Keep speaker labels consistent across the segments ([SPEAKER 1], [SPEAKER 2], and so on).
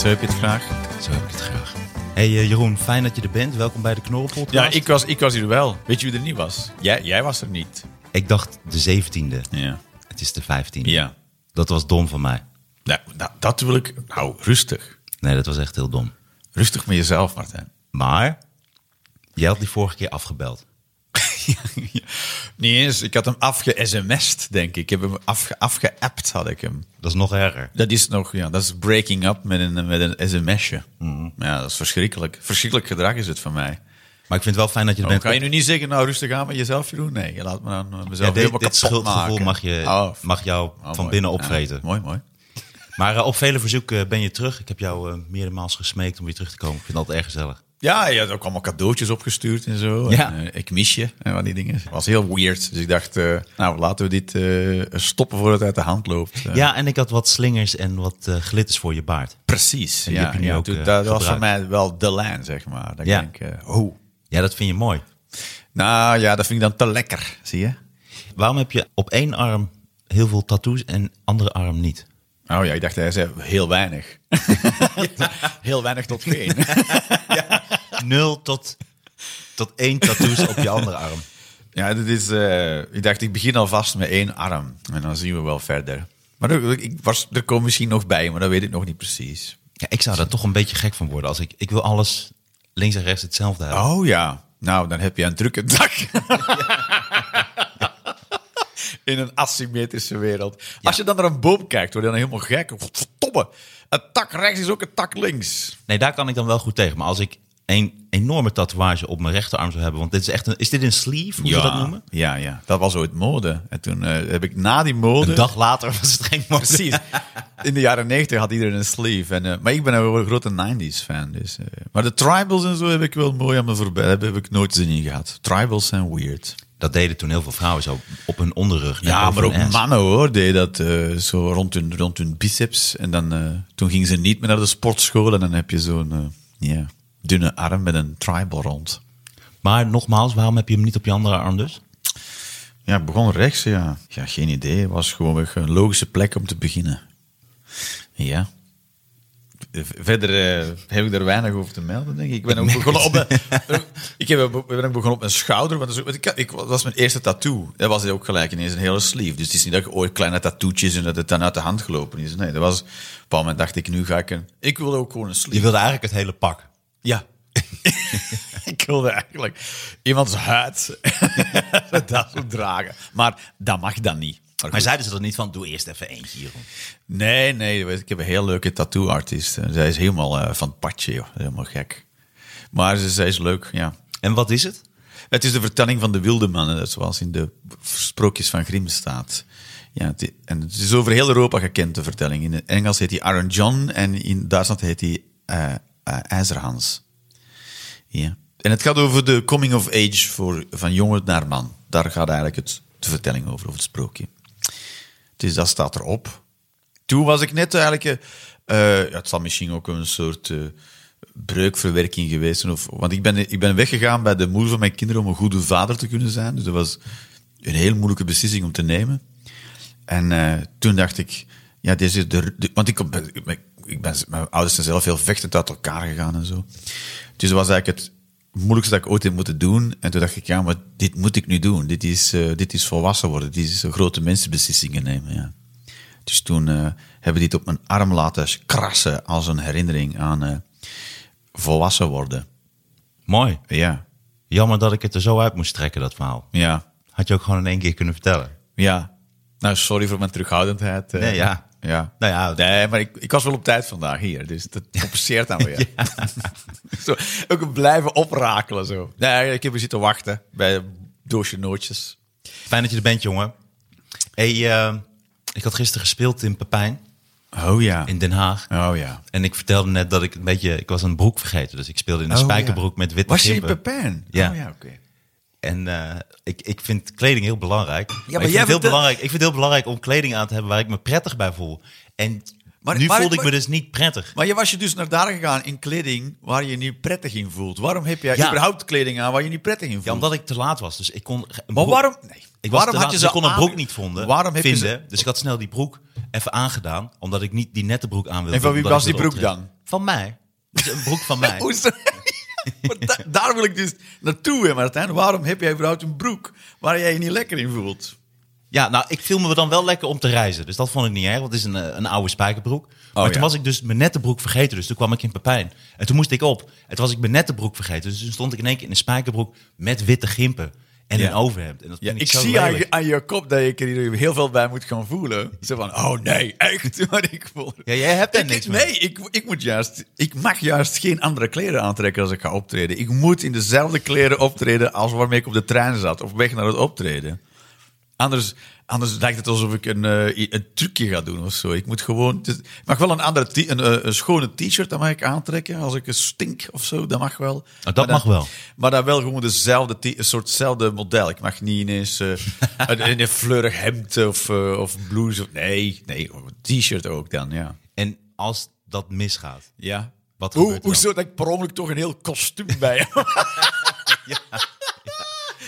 [SPEAKER 1] Zo heb je het eh, graag.
[SPEAKER 2] Zo heb ik het graag.
[SPEAKER 1] Hey eh, Jeroen, fijn dat je er bent. Welkom bij de Knorrelpodcast.
[SPEAKER 2] Ja, ik was, ik was hier wel. Weet je wie er niet was? Jij, jij was er niet.
[SPEAKER 1] Ik dacht de 17e.
[SPEAKER 2] Ja.
[SPEAKER 1] Het is de 15e.
[SPEAKER 2] Ja.
[SPEAKER 1] Dat was dom van mij.
[SPEAKER 2] Nou, nou, dat wil ik... Nou, rustig.
[SPEAKER 1] Nee, dat was echt heel dom.
[SPEAKER 2] Rustig met jezelf, Martijn.
[SPEAKER 1] Maar jij had die vorige keer afgebeld.
[SPEAKER 2] Niet eens. Ik had hem afge-sms'd, denk ik. Ik heb hem afge afgeappt, had ik hem.
[SPEAKER 1] Dat is nog erger.
[SPEAKER 2] Dat is nog... Ja, dat is breaking up met een, met een sms'je.
[SPEAKER 1] Mm-hmm.
[SPEAKER 2] Ja, dat is verschrikkelijk. Verschrikkelijk gedrag is het van mij.
[SPEAKER 1] Maar ik vind het wel fijn dat je er
[SPEAKER 2] Dan
[SPEAKER 1] bent.
[SPEAKER 2] Oh, kan je nu niet zeggen, nou, rustig aan met jezelf, Jeroen. Nee, je laat me dan eh, mezelf
[SPEAKER 1] Ja, dit-
[SPEAKER 2] helemaal
[SPEAKER 1] dit
[SPEAKER 2] kapot
[SPEAKER 1] schuldgevoel
[SPEAKER 2] maken.
[SPEAKER 1] mag, je,
[SPEAKER 2] Oh, f-
[SPEAKER 1] mag jou
[SPEAKER 2] oh,
[SPEAKER 1] van
[SPEAKER 2] mooi.
[SPEAKER 1] binnen
[SPEAKER 2] Ja,
[SPEAKER 1] opvreten.
[SPEAKER 2] mooi, mooi.
[SPEAKER 1] maar eh, op vele verzoeken ben je terug. Ik heb jou eh meerdere maals gesmeekt om weer terug te komen. Ik vind dat erg gezellig.
[SPEAKER 2] Ja, je had ook allemaal cadeautjes opgestuurd en zo.
[SPEAKER 1] Ja.
[SPEAKER 2] En, eh, ik mis je en wat die dingen. Het was heel weird. Dus ik dacht, eh, nou laten we dit eh, stoppen voordat het uit de hand loopt. Eh,
[SPEAKER 1] Ja, en ik had wat slingers en wat eh, glitters voor je baard.
[SPEAKER 2] precies.
[SPEAKER 1] die
[SPEAKER 2] Ja,
[SPEAKER 1] heb je nu
[SPEAKER 2] ja,
[SPEAKER 1] ook,
[SPEAKER 2] toen-
[SPEAKER 1] eh,
[SPEAKER 2] dat was voor
[SPEAKER 1] gebruikt.
[SPEAKER 2] mij wel de lijn, zeg maar. Dat
[SPEAKER 1] Ja.
[SPEAKER 2] ik denk, eh, oh.
[SPEAKER 1] Ja, dat vind je mooi.
[SPEAKER 2] Nou ja, dat vind ik dan te lekker, zie je?
[SPEAKER 1] Waarom heb je op één arm heel veel tattoos en andere arm niet?
[SPEAKER 2] Oh ja, ik dacht, hij zei heel weinig. heel weinig tot geen.
[SPEAKER 1] Nul tot, tot één tattoos op je andere arm.
[SPEAKER 2] Ja, dit is, eh, ik dacht, ik begin alvast met één arm. En dan zien we wel verder. Maar er, ik was, er komen misschien nog bij, maar dat weet ik nog niet precies.
[SPEAKER 1] Ja, ik zou daar toch een beetje gek van worden. Als ik, ik wil alles links en rechts hetzelfde hebben.
[SPEAKER 2] Oh ja, nou dan heb je een drukke dag. In een asymmetrische wereld. Als je dan naar een boom kijkt, word je dan helemaal gek. Verdomme, een tak rechts is ook een tak links.
[SPEAKER 1] Nee, daar kan ik dan wel goed tegen. Maar als ik een enorme tatoeage op mijn rechterarm zou hebben. Want dit is echt een. Is dit een sleeve? Hoe ze dat noemen?
[SPEAKER 2] ja, ja, dat was ooit mode. En toen eh, heb ik na die mode...
[SPEAKER 1] Een dag later was het geen mode.
[SPEAKER 2] Precies. In de jaren negentig had iedereen een sleeve. En, eh, maar ik ben een grote 90s fan. Dus, eh, maar de tribals en zo heb ik wel mooi aan me voorbij. Daar heb ik nooit zin in gehad. Tribals zijn weird.
[SPEAKER 1] Dat deden toen heel veel vrouwen zo op hun onderrug. net
[SPEAKER 2] Ja,
[SPEAKER 1] boven
[SPEAKER 2] maar
[SPEAKER 1] hun
[SPEAKER 2] ook
[SPEAKER 1] ass.
[SPEAKER 2] mannen hoor, deed dat eh, zo rond hun, rond hun biceps. En dan, eh, toen gingen ze niet meer naar de sportschool en dan heb je zo'n eh, ja, dunne arm met een tribal rond.
[SPEAKER 1] Maar nogmaals, waarom heb je hem niet op je andere arm dus?
[SPEAKER 2] Ja, het begon rechts, ja. Ja, geen idee. Het was gewoon weer een logische plek om te beginnen. Ja. Verder eh, heb ik er weinig over te melden, denk ik. Ik ben ook begonnen op een, ik heb, ik ben ook begonnen op mijn schouder. Want dat, is ook- want ik, ik, dat was mijn eerste tattoo. Dat was ook gelijk ineens een hele sleeve. Dus het is niet dat je ooit kleine tattoetjes en dat het dan uit de hand gelopen is. Nee, dat was... Op een bepaald moment dacht ik, nu ga ik een... Ik wilde ook gewoon een sleeve.
[SPEAKER 1] Je wilde eigenlijk het hele pak.
[SPEAKER 2] Ja. ik wilde eigenlijk iemands huid dat zo dragen. Maar dat mag dan niet. Maar
[SPEAKER 1] Maar
[SPEAKER 2] goed.
[SPEAKER 1] zeiden ze dat niet van, doe eerst even eentje hierom.
[SPEAKER 2] Nee, nee. Ik heb een heel leuke tattoo-artiest. En Zij is helemaal eh, van het padje, joh. Helemaal gek. Maar ze, zij is leuk, ja.
[SPEAKER 1] En wat is het?
[SPEAKER 2] Het is de vertelling van de wilde mannen, dat zoals in de sprookjes van Grimm staat. Ja, het, i- en het is over heel Europa gekend, de vertelling. In het Engels heet hij Aaron John en in Duitsland heet hij eh, eh, IJzerhans. Ja. En het gaat over de coming of age voor, van jongen naar man. Daar gaat eigenlijk het, de vertelling over, over het sprookje. Dus dat staat erop. Toen was ik net eigenlijk... eh, eh, ja, het zal misschien ook een soort eh, breukverwerking geweest zijn. Of, want ik ben, ik ben weggegaan bij de moeder van mijn kinderen om een goede vader te kunnen zijn. Dus dat was een heel moeilijke beslissing om te nemen. En eh, toen dacht ik... Ja, dit is de, de- want ik, kom- ik ben, ik ben- mijn ouders zijn zelf heel vechtend uit elkaar gegaan en zo. Dus dat was eigenlijk het moeilijkste dat ik ooit heb moeten doen. En toen dacht ik, ja, maar dit moet ik nu doen. Dit is, eh, dit is volwassen worden. Dit is grote mensenbeslissingen nemen, ja. Dus toen eh, hebben die het op mijn arm laten krassen als een herinnering aan eh, volwassen worden.
[SPEAKER 1] Mooi.
[SPEAKER 2] Ja,
[SPEAKER 1] Jammer dat ik het er zo uit moest trekken, dat verhaal.
[SPEAKER 2] ja,
[SPEAKER 1] Had je ook gewoon in één keer kunnen vertellen.
[SPEAKER 2] ja. Nou, sorry voor mijn terughoudendheid. eh.
[SPEAKER 1] Nee, ja.
[SPEAKER 2] Ja.
[SPEAKER 1] Nou ja,
[SPEAKER 2] nee, maar ik, ik was wel op tijd vandaag hier, dus dat compenseert dan weer. zo, ook blijven oprakelen zo. Nee, ik heb er zitten wachten bij een doosje nootjes.
[SPEAKER 1] Fijn dat je er bent, jongen. Hey, eh, ik had gisteren gespeeld in Pepijn.
[SPEAKER 2] Oh ja.
[SPEAKER 1] in Den Haag.
[SPEAKER 2] Oh ja.
[SPEAKER 1] En ik vertelde net dat ik een beetje... Ik was een broek vergeten, dus ik speelde in een
[SPEAKER 2] Oh,
[SPEAKER 1] spijkerbroek
[SPEAKER 2] ja.
[SPEAKER 1] met witte
[SPEAKER 2] Was je in
[SPEAKER 1] gimpen.
[SPEAKER 2] Pepijn?
[SPEAKER 1] Ja.
[SPEAKER 2] Oh, ja, oké.
[SPEAKER 1] En eh, ik, ik vind kleding heel belangrijk. Ja,
[SPEAKER 2] jij
[SPEAKER 1] maar ik, vind het heel
[SPEAKER 2] vertel-
[SPEAKER 1] belangrijk ik vind het heel belangrijk om kleding aan te hebben waar ik me prettig bij voel. En
[SPEAKER 2] Maar-
[SPEAKER 1] nu
[SPEAKER 2] maar-
[SPEAKER 1] voelde
[SPEAKER 2] maar-
[SPEAKER 1] ik me dus niet prettig.
[SPEAKER 2] Maar je was je dus naar daar gegaan in kleding waar je je niet prettig in voelt. Waarom heb jij
[SPEAKER 1] Ja.
[SPEAKER 2] überhaupt kleding aan waar je niet prettig in voelt?
[SPEAKER 1] Ja, omdat ik te laat was. Dus ik kon. een
[SPEAKER 2] Maar
[SPEAKER 1] broek-
[SPEAKER 2] waarom? Nee.
[SPEAKER 1] Ik was
[SPEAKER 2] waarom
[SPEAKER 1] te laat, dus ik kon een
[SPEAKER 2] aan-
[SPEAKER 1] broek niet vonden,
[SPEAKER 2] Waarom heb
[SPEAKER 1] vinden.
[SPEAKER 2] je ze...
[SPEAKER 1] Dus ik had snel die broek even aangedaan, omdat ik niet die nette broek aan wilde.
[SPEAKER 2] En van wie
[SPEAKER 1] omdat
[SPEAKER 2] was
[SPEAKER 1] ik
[SPEAKER 2] die
[SPEAKER 1] wilde
[SPEAKER 2] broek
[SPEAKER 1] optreden. Van mij. Dus een broek van mij.
[SPEAKER 2] Hoe is dat? Maar da- daar wil ik dus naartoe, hè, Martijn. Waarom heb jij überhaupt een broek waar jij je niet lekker in voelt?
[SPEAKER 1] Ja, nou, ik viel me dan wel lekker om te reizen. Dus dat vond ik niet erg, want het is een, eh, een oude spijkerbroek. Maar
[SPEAKER 2] Oh, ja.
[SPEAKER 1] toen was ik dus mijn nette broek vergeten, dus toen kwam ik in Pepijn. En toen moest ik op. En toen was ik mijn nette broek vergeten, dus toen stond ik in één keer in een spijkerbroek met witte gimpen en
[SPEAKER 2] Ja.
[SPEAKER 1] een overhemd. En dat
[SPEAKER 2] Ja,
[SPEAKER 1] vind
[SPEAKER 2] ik
[SPEAKER 1] zo
[SPEAKER 2] zie aan
[SPEAKER 1] lelijk.
[SPEAKER 2] je, aan je kop dat je er heel veel bij moet gaan voelen. Zo van, oh nee, echt. Maar ik voel...
[SPEAKER 1] Ja, jij hebt daar
[SPEAKER 2] Ik-
[SPEAKER 1] niks mee.
[SPEAKER 2] Nee, ik, ik, moet juist, ik mag juist geen andere kleren aantrekken als ik ga optreden. Ik moet in dezelfde kleren optreden als waarmee ik op de trein zat. Of weg naar het optreden. Anders, anders lijkt het alsof ik een, eh, i- een trucje ga doen of zo. Ik moet gewoon... het is- Ik mag wel een, andere t- een, eh, een schone t-shirt, dat mag ik aantrekken. Als ik een stink of zo, dat mag wel.
[SPEAKER 1] Ah, dat
[SPEAKER 2] Maar dan-
[SPEAKER 1] mag wel.
[SPEAKER 2] Maar dan wel gewoon dezelfde, t- een soortzelfde model. Ik mag niet ineens eh, een, een, fleurig hemd of, eh, of blouse. Of, nee, nee, een t-shirt ook dan, ja.
[SPEAKER 1] En als dat misgaat,
[SPEAKER 2] Ja.
[SPEAKER 1] Wat
[SPEAKER 2] Hoe-
[SPEAKER 1] gebeurt er dan?
[SPEAKER 2] hoezo dat ik per ongeluk toch een heel kostuum bij heb?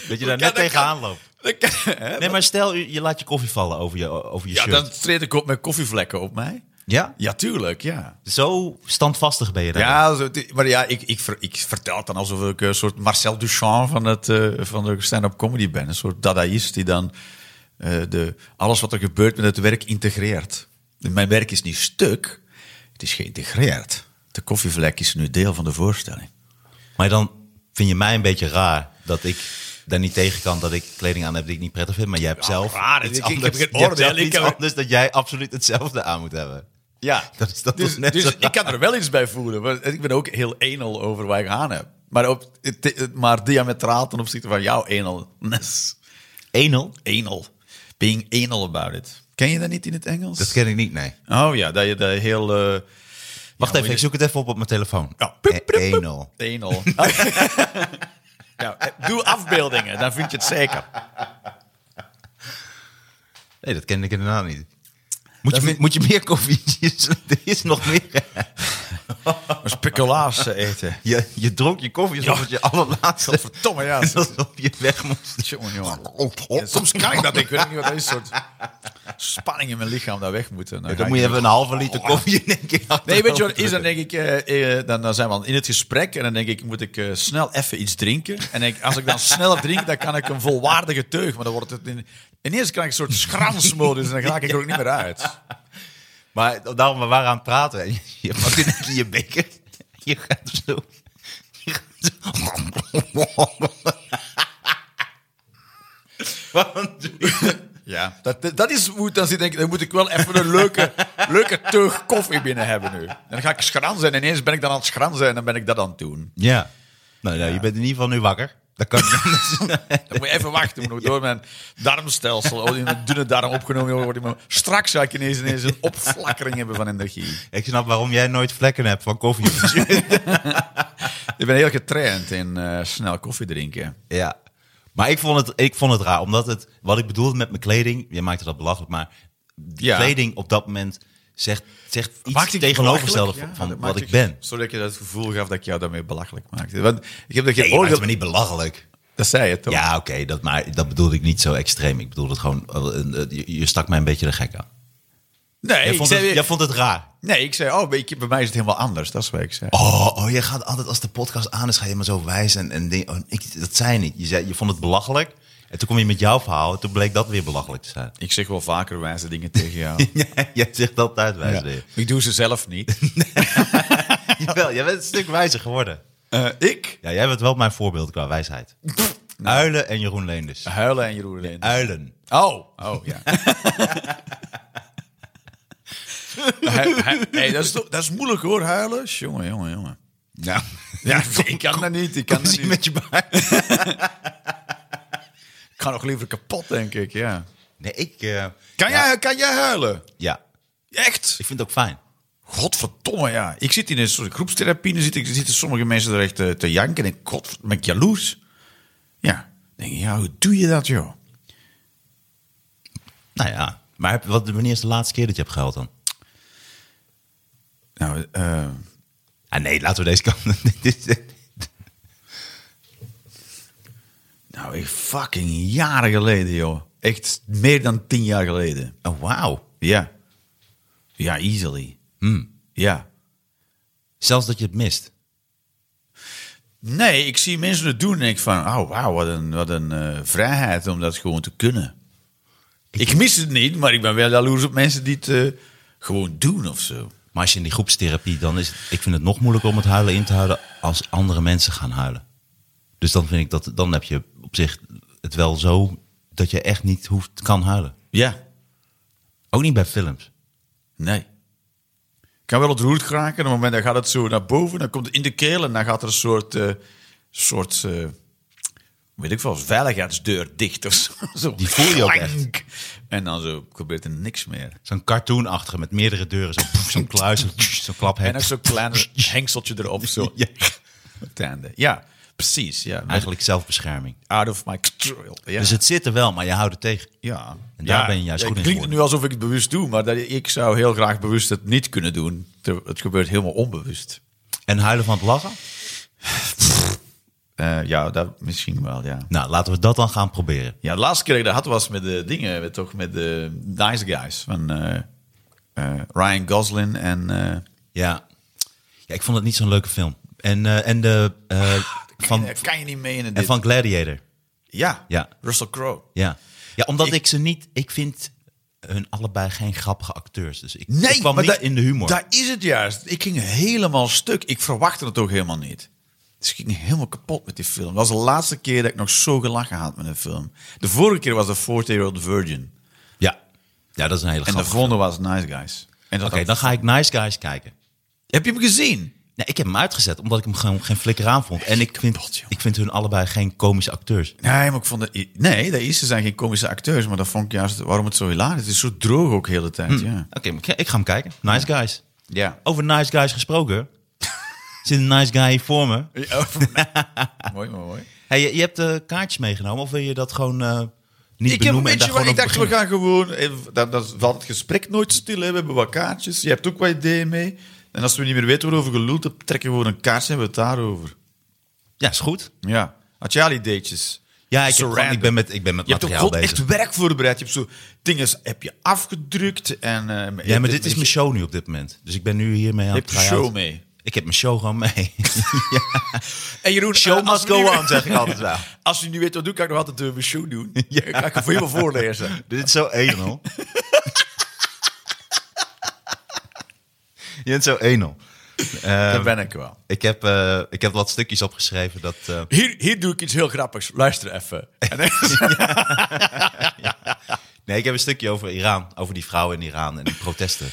[SPEAKER 1] dat je
[SPEAKER 2] kan-
[SPEAKER 1] daar net
[SPEAKER 2] dat nou?
[SPEAKER 1] tegenaan
[SPEAKER 2] kan-
[SPEAKER 1] loopt.
[SPEAKER 2] Dat kan- hè?
[SPEAKER 1] Nee, maar stel, je, je laat je koffie vallen over je, over je
[SPEAKER 2] Eh, ja,
[SPEAKER 1] shirt.
[SPEAKER 2] dan treed ik op met koffievlekken op mij.
[SPEAKER 1] Ja?
[SPEAKER 2] Ja, tuurlijk, ja.
[SPEAKER 1] Zo standvastig ben je daar.
[SPEAKER 2] Ja, zo- maar ja, ik, ik, ver- ik vertel het dan alsof ik een soort Marcel Duchamp van, het, eh, van de stand-up comedy ben. Een soort dadaïst die dan eh, de, alles wat er gebeurt met het werk integreert. Mijn werk is niet stuk, het is geïntegreerd. De koffievlek is nu deel van de voorstelling.
[SPEAKER 1] Maar dan vind je mij een beetje raar dat ik daar niet tegen kan dat ik kleding aan heb die ik niet prettig vind. Maar jij hebt zelf
[SPEAKER 2] raar,
[SPEAKER 1] iets
[SPEAKER 2] ik- ik heb
[SPEAKER 1] anders.
[SPEAKER 2] geen
[SPEAKER 1] Je hebt
[SPEAKER 2] oordeel,
[SPEAKER 1] zelf
[SPEAKER 2] ik
[SPEAKER 1] iets
[SPEAKER 2] heb-
[SPEAKER 1] anders dat jij absoluut hetzelfde aan moet hebben.
[SPEAKER 2] Ja,
[SPEAKER 1] Dat is- dat
[SPEAKER 2] dus,
[SPEAKER 1] is net
[SPEAKER 2] dus
[SPEAKER 1] zo
[SPEAKER 2] ik kan er wel iets bij voelen. want Ik ben ook heel anal over wat ik aan heb. Maar, op, het- het- maar diametraal ten opzichte van jouw analness.
[SPEAKER 1] 1-0?
[SPEAKER 2] Anal. Being anal about it. Ken je dat niet in het Engels?
[SPEAKER 1] Dat ken ik niet, nee.
[SPEAKER 2] Oh ja, dat je dat heel... eh, Oh,
[SPEAKER 1] Wacht
[SPEAKER 2] Ja,
[SPEAKER 1] even, ik zoek het even op op mijn telefoon.
[SPEAKER 2] Ja.
[SPEAKER 1] Eh, 1-0.
[SPEAKER 2] Anal. ja, eh, doe afbeeldingen, dan vind je het zeker.
[SPEAKER 1] Nee, dat ken ik inderdaad niet. Moet, je,
[SPEAKER 2] Dat vind-
[SPEAKER 1] moet je meer koffie? er is nog meer.
[SPEAKER 2] Speculaas eten.
[SPEAKER 1] Je, je dronk je koffie alsof
[SPEAKER 2] Ja.
[SPEAKER 1] het je allerlaatste...
[SPEAKER 2] Verdomme, ja.
[SPEAKER 1] Alsof je weg moest.
[SPEAKER 2] Jongen, jongen.
[SPEAKER 1] oh,
[SPEAKER 2] Ja, soms kan ik dat, ik weet ook niet wat dat is. Een soort spanning in mijn lichaam dat weg moet. en
[SPEAKER 1] Ja,
[SPEAKER 2] ga
[SPEAKER 1] dan
[SPEAKER 2] ik
[SPEAKER 1] moet je
[SPEAKER 2] niet-
[SPEAKER 1] even een halve liter koffie in één keer
[SPEAKER 2] Nee,
[SPEAKER 1] achterover
[SPEAKER 2] weet je wat is? Dan
[SPEAKER 1] drukken.
[SPEAKER 2] denk ik, eh, eh, dan, dan zijn we in het gesprek en dan denk ik, moet ik eh, snel even iets drinken? En denk ik, als ik dan sneller drink, dan kan ik een volwaardige teug. Maar dan wordt het in, ineens krijg ik een soort schransmodus en dan raak ik er ook niet meer uit.
[SPEAKER 1] Maar daarom, we waren aan het praten. En je pakt in één keer je beker. Je gaat zo... Je gaat zo... Waarom doe je dat?
[SPEAKER 2] Ja. Dat, dat is hoe het dan zit. Denk ik, dan moet ik wel even een leuke, leuke teug koffie binnen hebben nu. En dan ga ik schransen en ineens ben ik dan aan het schransen en dan ben ik dat aan het doen.
[SPEAKER 1] Ja. Nou, nou, je bent in ieder geval nu wakker. Dat kan niet anders.
[SPEAKER 2] Dan moet je even wachten, moet nog door mijn darmstelsel, oh, die mijn dunne darm opgenomen worden. Maar straks zou ik ineens, ineens een opflakkering hebben van energie.
[SPEAKER 1] Ik snap waarom jij nooit vlekken hebt van koffie. op je shirt.
[SPEAKER 2] Ik ben heel getraind in eh, snel koffie drinken.
[SPEAKER 1] ja. Maar ik vond, het, ik vond het raar. Omdat het... Wat ik bedoelde met mijn kleding... Je maakte dat belachelijk, maar... Die
[SPEAKER 2] Ja.
[SPEAKER 1] kleding op dat moment zegt, zegt
[SPEAKER 2] Maakt
[SPEAKER 1] iets
[SPEAKER 2] het
[SPEAKER 1] tegenovergestelde
[SPEAKER 2] belachelijk?
[SPEAKER 1] van,
[SPEAKER 2] Ja, dat
[SPEAKER 1] van wat
[SPEAKER 2] maakt
[SPEAKER 1] ik
[SPEAKER 2] ik-
[SPEAKER 1] ben.
[SPEAKER 2] Zodat je dat gevoel gaf dat ik jou daarmee belachelijk maakte. Want ik heb dat
[SPEAKER 1] Nee, je
[SPEAKER 2] gehoord.
[SPEAKER 1] maakt
[SPEAKER 2] dat-
[SPEAKER 1] me niet belachelijk.
[SPEAKER 2] Dat zei je toch?
[SPEAKER 1] Ja, oké, dat, maar dat bedoelde ik niet zo extreem. Ik bedoelde het gewoon, eh, een- eh, je, je stak mij een beetje de gek aan.
[SPEAKER 2] Nee,
[SPEAKER 1] jij,
[SPEAKER 2] ik
[SPEAKER 1] vond
[SPEAKER 2] zei,
[SPEAKER 1] het, jij vond het raar.
[SPEAKER 2] nee, ik zei, oh, bij, ik- bij mij is het helemaal anders. Dat is wat ik zei.
[SPEAKER 1] Oh, oh, jij gaat altijd als de podcast aan is, ga je maar zo wijs. En, en ding- oh, ik, dat zei je niet. Je, zei, je vond het belachelijk. En toen kom je met jouw verhaal en toen bleek dat weer belachelijk te zijn.
[SPEAKER 2] Ik zeg wel vaker wijze dingen tegen jou.
[SPEAKER 1] jij zegt altijd wijs
[SPEAKER 2] Ja.
[SPEAKER 1] weer.
[SPEAKER 2] Ik doe ze zelf niet.
[SPEAKER 1] Jawel, jij bent een stuk wijzer geworden.
[SPEAKER 2] Eh, ik?
[SPEAKER 1] Ja, jij bent wel mijn voorbeeld qua wijsheid. Uilen en Jeroen Leenders.
[SPEAKER 2] Huilen en Jeroen Lijn.
[SPEAKER 1] Uilen.
[SPEAKER 2] Oh, oh ja. Hij- hij- hey, dat, is toch- dat is moeilijk hoor, huilen. Jongen, jongen, jongen.
[SPEAKER 1] Nou,
[SPEAKER 2] Ja, ik kan dat niet. Ik kan dat
[SPEAKER 1] zie
[SPEAKER 2] niet.
[SPEAKER 1] met je baard.
[SPEAKER 2] Ik ga nog liever kapot, denk ik, ja.
[SPEAKER 1] Nee, ik... eh,
[SPEAKER 2] Kan,
[SPEAKER 1] ja,
[SPEAKER 2] jij, kan jij huilen?
[SPEAKER 1] Ja.
[SPEAKER 2] Echt?
[SPEAKER 1] Ik vind het ook fijn.
[SPEAKER 2] Godverdomme, ja. Ik zit in een soort groepstherapie. Dan zitten, zitten sommige mensen er echt eh, te janken. En ik god, ben ik jaloers. Ja. Dan denk ik, ja, hoe doe je dat, joh?
[SPEAKER 1] Nou ja, maar heb- wat, wanneer is de laatste keer dat je hebt gehuild dan?
[SPEAKER 2] Nou, eh,
[SPEAKER 1] Ah nee, laten we deze kant. Dit is-
[SPEAKER 2] nou echt fucking jaren geleden, joh. Echt meer dan tien jaar geleden.
[SPEAKER 1] oh, wauw.
[SPEAKER 2] Ja. Ja, easily. Hmm. Ja.
[SPEAKER 1] Zelfs dat je het mist.
[SPEAKER 2] Nee, ik zie mensen het doen en ik van, oh wauw, wat een, wat een eh, vrijheid om dat gewoon te kunnen. Ik mis het niet, maar ik ben wel jaloers op mensen die het eh, gewoon doen of zo.
[SPEAKER 1] Maar als je in die groepstherapie, dan is het, ik vind het nog moeilijker om het huilen in te houden als andere mensen gaan huilen. Dus dan vind ik dat, dan heb je op zich het wel zo dat je echt niet hoeft, kan huilen.
[SPEAKER 2] Ja,
[SPEAKER 1] Ook niet bij films.
[SPEAKER 2] nee. Ik kan wel ontroerd geraken, op het moment dat gaat het zo naar boven, dan komt het in de keel en dan gaat er een soort, eh, soort eh, weet ik veel, veiligheidsdeur dicht of zo. Zo
[SPEAKER 1] Die voel je ook echt.
[SPEAKER 2] klank. En dan zo gebeurt er niks meer.
[SPEAKER 1] Zo'n cartoonachtige met meerdere deuren, zo, poef, zo'n kluis, zo, tsch, zo'n
[SPEAKER 2] En ook
[SPEAKER 1] klaphek.
[SPEAKER 2] zo'n klein hengseltje erop, zo.
[SPEAKER 1] Ja.
[SPEAKER 2] Tanden. Ja, precies. Ja.
[SPEAKER 1] Eigenlijk zelfbescherming.
[SPEAKER 2] out of my control. Ja.
[SPEAKER 1] Dus het zit er wel, maar je houdt het tegen.
[SPEAKER 2] ja.
[SPEAKER 1] En daar
[SPEAKER 2] Ja,
[SPEAKER 1] ben je juist
[SPEAKER 2] ja,
[SPEAKER 1] goed in
[SPEAKER 2] Het klinkt nu
[SPEAKER 1] geworden.
[SPEAKER 2] alsof ik het bewust doe, maar dat, ik zou heel graag bewust het niet kunnen doen. Ter- Het gebeurt helemaal onbewust.
[SPEAKER 1] En huilen van het lachen?
[SPEAKER 2] Eh, ja, dat misschien wel, ja.
[SPEAKER 1] Nou, laten we dat dan gaan proberen.
[SPEAKER 2] Ja, de laatste keer dat ik dat had was met de dingen, met, toch met de Nice Guys van eh, eh, Ryan Gosling en... eh,
[SPEAKER 1] Ja. ja ik vond het niet zo'n leuke film. En, eh, en de, eh, van,
[SPEAKER 2] kan, je, kan je niet mee in Ah, dit.
[SPEAKER 1] en van Gladiator.
[SPEAKER 2] ja,
[SPEAKER 1] Ja.
[SPEAKER 2] Russell Crowe.
[SPEAKER 1] Ja. Ja, omdat ik, ze niet... Ik vind hun allebei geen grappige acteurs. Dus ik,
[SPEAKER 2] Nee,
[SPEAKER 1] ik kwam
[SPEAKER 2] maar
[SPEAKER 1] niet
[SPEAKER 2] da-
[SPEAKER 1] in de humor.
[SPEAKER 2] Daar is het juist. Ik ging helemaal stuk. Ik verwachtte het ook helemaal niet. Dus ik ging helemaal kapot met die film. Dat was de laatste keer dat ik nog zo gelachen had met een film. De vorige keer was de 40-year-old virgin.
[SPEAKER 1] ja. ja, dat is een
[SPEAKER 2] En
[SPEAKER 1] hele
[SPEAKER 2] de
[SPEAKER 1] grappige film.
[SPEAKER 2] volgende was Nice Guys. En dat
[SPEAKER 1] Oké, dan ga ik Nice Guys kijken.
[SPEAKER 2] Heb je hem gezien?
[SPEAKER 1] Nee, ik heb hem uitgezet, omdat ik hem gewoon geen flikker aan vond. En ik
[SPEAKER 2] Kapot,
[SPEAKER 1] vind,
[SPEAKER 2] joh.
[SPEAKER 1] ik vind hun allebei geen komische acteurs.
[SPEAKER 2] Nee, maar ik vond het... Nee, dat is, ze zijn geen komische acteurs. Maar dat vond ik juist waarom het zo hilarisch is. Het is zo droog ook de hele tijd, ja.
[SPEAKER 1] Oké, maar ik- ik ga hem kijken. Nice Guys.
[SPEAKER 2] Ja.
[SPEAKER 1] Over Nice Guys gesproken. zit een nice guy hier voor me.
[SPEAKER 2] mooi, mooi, mooi.
[SPEAKER 1] Hey, je, je hebt de kaartjes meegenomen, of wil je dat gewoon eh, niet
[SPEAKER 2] Ik heb een
[SPEAKER 1] benoemen?
[SPEAKER 2] beetje,
[SPEAKER 1] en daar
[SPEAKER 2] maar
[SPEAKER 1] gewoon
[SPEAKER 2] ik
[SPEAKER 1] over
[SPEAKER 2] dacht, we gaan gewoon, even- dan, dan valt het gesprek nooit stil. Hè. We hebben wat kaartjes, je hebt ook wat ideeën mee. En als we niet meer weten waarover geloeld hebben, trekken we gewoon een kaartje en hebben we het daarover.
[SPEAKER 1] beginnen? Ja, is goed.
[SPEAKER 2] Ja. Had jij al ideetjes?
[SPEAKER 1] Ja, ik, heb
[SPEAKER 2] Surrender.
[SPEAKER 1] gewoon- ik ben met, ik ben met
[SPEAKER 2] Je hebt ook
[SPEAKER 1] materiaal
[SPEAKER 2] gewoon
[SPEAKER 1] bezig.
[SPEAKER 2] echt werk voorbereid. Je hebt zo dingen heb je afgedrukt. En, eh,
[SPEAKER 1] Ja, maar dit is
[SPEAKER 2] je-
[SPEAKER 1] mijn show nu op dit moment. Dus ik ben nu hiermee aan
[SPEAKER 2] Je
[SPEAKER 1] het
[SPEAKER 2] hebt je
[SPEAKER 1] try-out.
[SPEAKER 2] show mee.
[SPEAKER 1] Ik heb mijn show gewoon mee.
[SPEAKER 2] En Jeroen,
[SPEAKER 1] Show
[SPEAKER 2] eh, als
[SPEAKER 1] must
[SPEAKER 2] we nu-
[SPEAKER 1] go on, zeg ik altijd wel.
[SPEAKER 2] Als je nu weet wat doe, kan ik nog altijd eh, mijn show doen. Ik Ga ik het voor je wel voorlezen.
[SPEAKER 1] dit is zo enel. je bent zo enel. Ehm.
[SPEAKER 2] Daar ben ik wel.
[SPEAKER 1] Ik heb, eh, ik heb wat stukjes opgeschreven dat... eh,
[SPEAKER 2] Hier, hier doe ik iets heel grappigs. Luister even. En dan-
[SPEAKER 1] Nee, ik heb een stukje over Iran. Over die vrouwen in Iran en die protesten.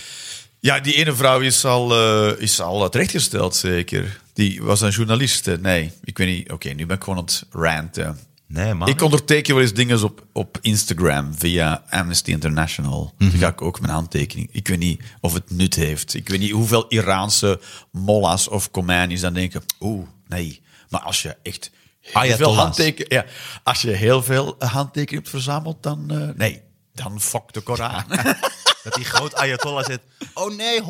[SPEAKER 2] Ja, die ene vrouw is al, eh, is al terechtgesteld, zeker. Die was een journalist. eh, Nee, ik weet niet. Oké, nu ben ik gewoon aan het ranten.
[SPEAKER 1] Nee, man.
[SPEAKER 2] Ik onderteken wel eens dingen op, op Instagram via Amnesty International. Dan ga ik ook mijn handtekening. Ik weet niet of het nut heeft. Ik weet niet hoeveel Iraanse mollahs of Khomeinis dan denken... Oeh, nee. Maar als je echt heel veel,
[SPEAKER 1] Ayatollahs.
[SPEAKER 2] handteken, ja, als je heel veel handtekeningen hebt verzameld, dan... eh, nee, dan fuck de Koran.
[SPEAKER 1] Dat die groot Ayatollah zit. Oh nee, 100.000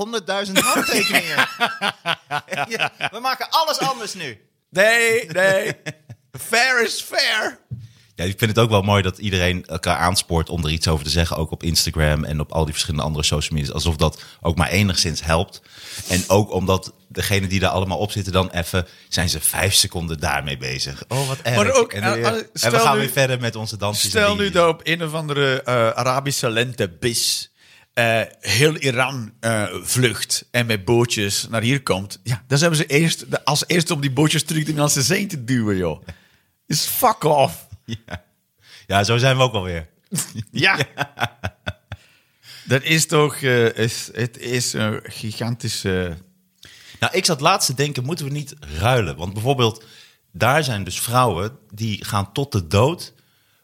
[SPEAKER 1] handtekeningen. Ja, we maken alles anders nu.
[SPEAKER 2] Nee, nee. Fair is fair.
[SPEAKER 1] Ja, ik vind het ook wel mooi dat iedereen elkaar aanspoort om er iets over te zeggen. Ook op Instagram en op al die verschillende andere social media's. Alsof dat ook maar enigszins helpt. En ook omdat degene die daar allemaal op zitten dan even... zijn ze vijf seconden daarmee bezig. Oh, wat erg.
[SPEAKER 2] Maar ook,
[SPEAKER 1] en, dan
[SPEAKER 2] eh,
[SPEAKER 1] weer-
[SPEAKER 2] eh,
[SPEAKER 1] en we
[SPEAKER 2] stel
[SPEAKER 1] gaan
[SPEAKER 2] nu-
[SPEAKER 1] weer verder met onze dansjes. en
[SPEAKER 2] Stel nu
[SPEAKER 1] dingetjes.
[SPEAKER 2] dat op een of andere eh, Arabische lentebis eh, heel Iran eh, vlucht en met bootjes naar hier komt. Ja, dan zijn we ze eerst, de- als eerste om die bootjes terug de Middellandse Zee te duwen, joh. Is fuck off.
[SPEAKER 1] Ja. ja, zo zijn we ook alweer.
[SPEAKER 2] Ja. Dat is toch, eh, is, het is een gigantische...
[SPEAKER 1] Nou, ik zat laatst te denken, moeten we niet ruilen? Want bijvoorbeeld, daar zijn dus vrouwen die gaan tot de dood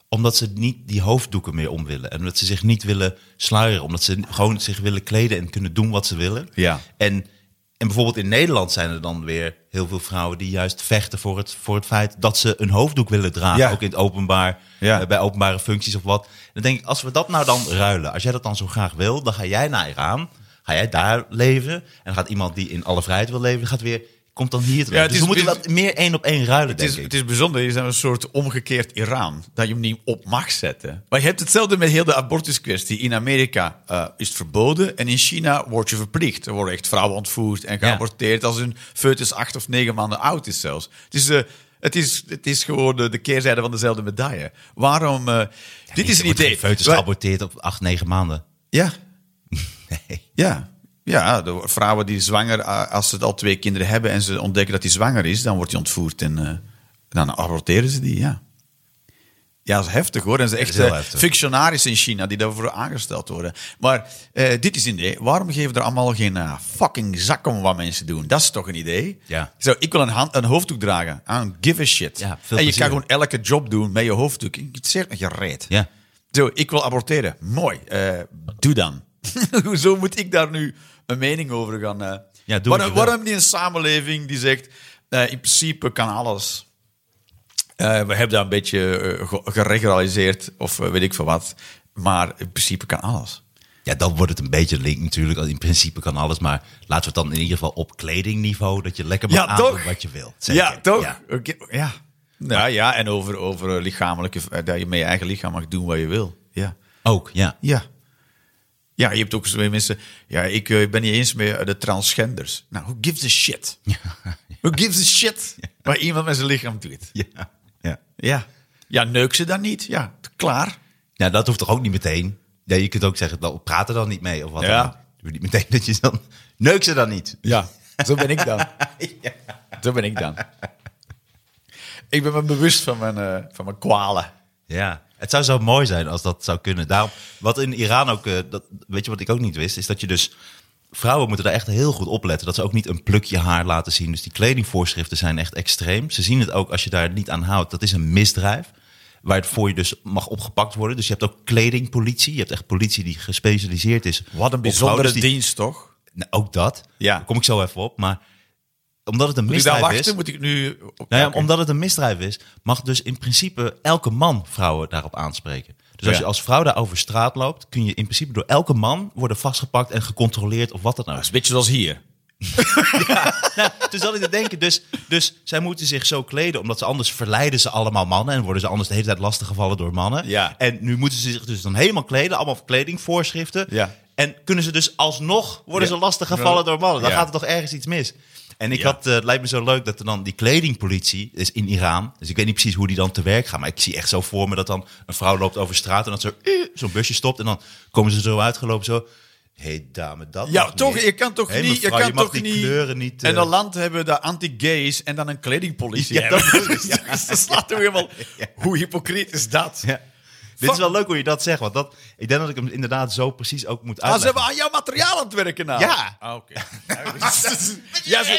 [SPEAKER 1] Omdat ze niet die hoofddoeken meer om willen. En omdat ze zich niet willen sluieren. Omdat ze gewoon zich willen kleden en kunnen doen wat ze willen.
[SPEAKER 2] Ja.
[SPEAKER 1] En, en bijvoorbeeld in Nederland zijn er dan weer heel veel vrouwen die juist vechten voor het, voor het feit dat ze een hoofddoek willen dragen.
[SPEAKER 2] Ja.
[SPEAKER 1] Ook in het openbaar,
[SPEAKER 2] Ja.
[SPEAKER 1] eh, bij openbare functies of wat. Dan denk ik, als we dat nou dan ruilen, als jij dat dan zo graag wil, dan ga jij naar Iran, ga jij daar leven. En dan gaat iemand die in alle vrijheid wil leven, gaat weer, komt dan hier te
[SPEAKER 2] Ja,
[SPEAKER 1] leven.
[SPEAKER 2] het
[SPEAKER 1] dus
[SPEAKER 2] is-
[SPEAKER 1] we moeten wat meer één op één ruilen,
[SPEAKER 2] Het is,
[SPEAKER 1] denk ik.
[SPEAKER 2] het is bijzonder, je bent een soort omgekeerd Iran, dat je hem niet op mag zetten. Maar je hebt hetzelfde met heel de abortuskwestie. In Amerika eh, is het verboden en in China word je verplicht. Er worden echt vrouwen ontvoerd en
[SPEAKER 1] Ja.
[SPEAKER 2] geaborteerd als hun foetus acht of negen maanden oud is zelfs. Dus eh, het, is, het is gewoon de, de keerzijde van dezelfde medaille. Waarom... eh, dit is
[SPEAKER 1] Er
[SPEAKER 2] een
[SPEAKER 1] wordt
[SPEAKER 2] idee.
[SPEAKER 1] geen Foetus
[SPEAKER 2] Wij-
[SPEAKER 1] geaborteerd op acht, negen maanden.
[SPEAKER 2] Ja,
[SPEAKER 1] Nee.
[SPEAKER 2] Ja, ja de vrouwen die zwanger, eh, als ze al twee kinderen hebben en ze ontdekken dat die zwanger is, dan wordt die ontvoerd en eh, dan aborteren ze die, ja. Ja, dat is heftig hoor. En ze echt
[SPEAKER 1] is heel
[SPEAKER 2] eh,
[SPEAKER 1] heftig.
[SPEAKER 2] fictionarissen in China die daarvoor aangesteld worden. Maar eh, dit is een idee. Waarom geven er allemaal geen eh, fucking zak om wat mensen doen? Dat is toch een idee?
[SPEAKER 1] Ja.
[SPEAKER 2] Zo, ik wil een, hand, een hoofddoek dragen. I don't give a shit.
[SPEAKER 1] Ja, veel
[SPEAKER 2] en je
[SPEAKER 1] plezier.
[SPEAKER 2] kan gewoon elke job doen met je hoofddoek. Het zegt dat je reed.
[SPEAKER 1] Ja.
[SPEAKER 2] Zo, ik wil aborteren. Mooi. Eh, doe dan. Hoezo moet ik daar nu een mening over gaan? eh?
[SPEAKER 1] Ja, doe wat
[SPEAKER 2] waarom,
[SPEAKER 1] je wil.
[SPEAKER 2] waarom niet een samenleving die zegt, eh, in principe kan alles. Eh, we hebben dat een beetje eh, ge- geregulariseerd of eh, weet ik veel wat. Maar in principe kan alles.
[SPEAKER 1] Ja, dan wordt het een beetje link natuurlijk. In principe kan alles, maar laten we het dan in ieder geval op kledingniveau... dat je lekker mag
[SPEAKER 2] Ja,
[SPEAKER 1] aandoen
[SPEAKER 2] toch?
[SPEAKER 1] wat je wil. Zeker.
[SPEAKER 2] Ja, toch?
[SPEAKER 1] Ja.
[SPEAKER 2] Oké, ja. Ja, ja, en over, over eh, lichamelijke... eh, dat je met je eigen lichaam mag doen wat je wil. Ja.
[SPEAKER 1] Ook, ja.
[SPEAKER 2] Ja. Ja, je hebt ook zo mensen. Ja, ik eh, ben niet eens meer de transgenders. Nou, who gives a shit? Who gives a shit? Waar iemand met zijn lichaam doet.
[SPEAKER 1] Ja. ja.
[SPEAKER 2] Ja. Ja, neuk ze dan niet? Ja, klaar.
[SPEAKER 1] Ja, Nou, dat hoeft toch ook niet meteen? Ja, je kunt ook zeggen, nou, praat er dan niet mee of wat
[SPEAKER 2] Ja.
[SPEAKER 1] dan. Doe niet meteen dat je dan... Neuk ze dan niet.
[SPEAKER 2] Ja, zo ben ik dan. Zo ben ik dan. Ik ben me bewust van mijn, eh, van mijn kwalen.
[SPEAKER 1] Ja. Het zou zo mooi zijn als dat zou kunnen. Daarom, wat in Iran ook... eh, dat, weet je wat ik ook niet wist? Is dat je dus... Vrouwen moeten daar echt heel goed op letten. Dat ze ook niet een plukje haar laten zien. Dus die kledingvoorschriften zijn echt extreem. Ze zien het ook als je daar niet aan houdt. Dat is een misdrijf. Waar het voor je dus mag opgepakt worden. Dus je hebt ook kledingpolitie. Je hebt echt politie die gespecialiseerd is.
[SPEAKER 2] Wat een
[SPEAKER 1] op
[SPEAKER 2] bijzondere
[SPEAKER 1] vrouwen. Dus die-
[SPEAKER 2] dienst, toch?
[SPEAKER 1] Nou, ook dat.
[SPEAKER 2] Ja.
[SPEAKER 1] Daar kom ik zo even op. Maar omdat het een
[SPEAKER 2] Moet ik daar
[SPEAKER 1] misdrijf
[SPEAKER 2] wachten?
[SPEAKER 1] is.
[SPEAKER 2] Moet ik nu...
[SPEAKER 1] Nou ja,
[SPEAKER 2] Oké.
[SPEAKER 1] omdat het een misdrijf is, mag dus in principe elke man vrouwen daarop aanspreken. Dus als
[SPEAKER 2] Ja.
[SPEAKER 1] je als vrouw daar over straat loopt, kun je in principe door elke man worden vastgepakt en gecontroleerd of wat dat nou
[SPEAKER 2] Dat is
[SPEAKER 1] is.
[SPEAKER 2] een beetje zoals hier.
[SPEAKER 1] nou, toen zat ik te denken, dus, dus zij moeten zich zo kleden, omdat ze anders verleiden ze allemaal mannen en worden ze anders de hele tijd lastiggevallen door mannen.
[SPEAKER 2] Ja.
[SPEAKER 1] En nu moeten ze zich dus dan helemaal kleden, allemaal kledingvoorschriften.
[SPEAKER 2] Ja.
[SPEAKER 1] En kunnen ze dus alsnog worden
[SPEAKER 2] Ja.
[SPEAKER 1] ze lastiggevallen door mannen. Dan
[SPEAKER 2] Ja.
[SPEAKER 1] gaat er toch ergens iets mis. En ik
[SPEAKER 2] Ja.
[SPEAKER 1] had, eh, het lijkt me zo leuk dat er dan die kledingpolitie is in Iran. Dus ik weet niet precies hoe die dan te werk gaan. Maar ik zie echt zo voor me dat dan een vrouw loopt over straat en dat ze eh, zo'n busje stopt. En dan komen ze er zo uitgelopen zo. Hé hey, dame, dat
[SPEAKER 2] Ja,
[SPEAKER 1] mag
[SPEAKER 2] toch?
[SPEAKER 1] niet.
[SPEAKER 2] Je kan toch
[SPEAKER 1] Hé,
[SPEAKER 2] niet.
[SPEAKER 1] mevrouw,
[SPEAKER 2] je kan
[SPEAKER 1] je mag
[SPEAKER 2] toch
[SPEAKER 1] die
[SPEAKER 2] niet.
[SPEAKER 1] kleuren niet.
[SPEAKER 2] En
[SPEAKER 1] eh,
[SPEAKER 2] een land hebben dat anti-gays en dan een kledingpolitie.
[SPEAKER 1] Ja,
[SPEAKER 2] hebben.
[SPEAKER 1] dat bedoel ik, ja.
[SPEAKER 2] Dus dat slaat toch helemaal. Hoe hypocriet is dat?
[SPEAKER 1] Ja. Dit is wel leuk hoe je dat zegt, want dat, ik denk dat ik hem inderdaad zo precies ook moet
[SPEAKER 2] Ah, ze
[SPEAKER 1] uitleggen.
[SPEAKER 2] hebben aan jouw materiaal aan het werken nou.
[SPEAKER 1] Ja.
[SPEAKER 2] Ah, oké. dus- ja, zo,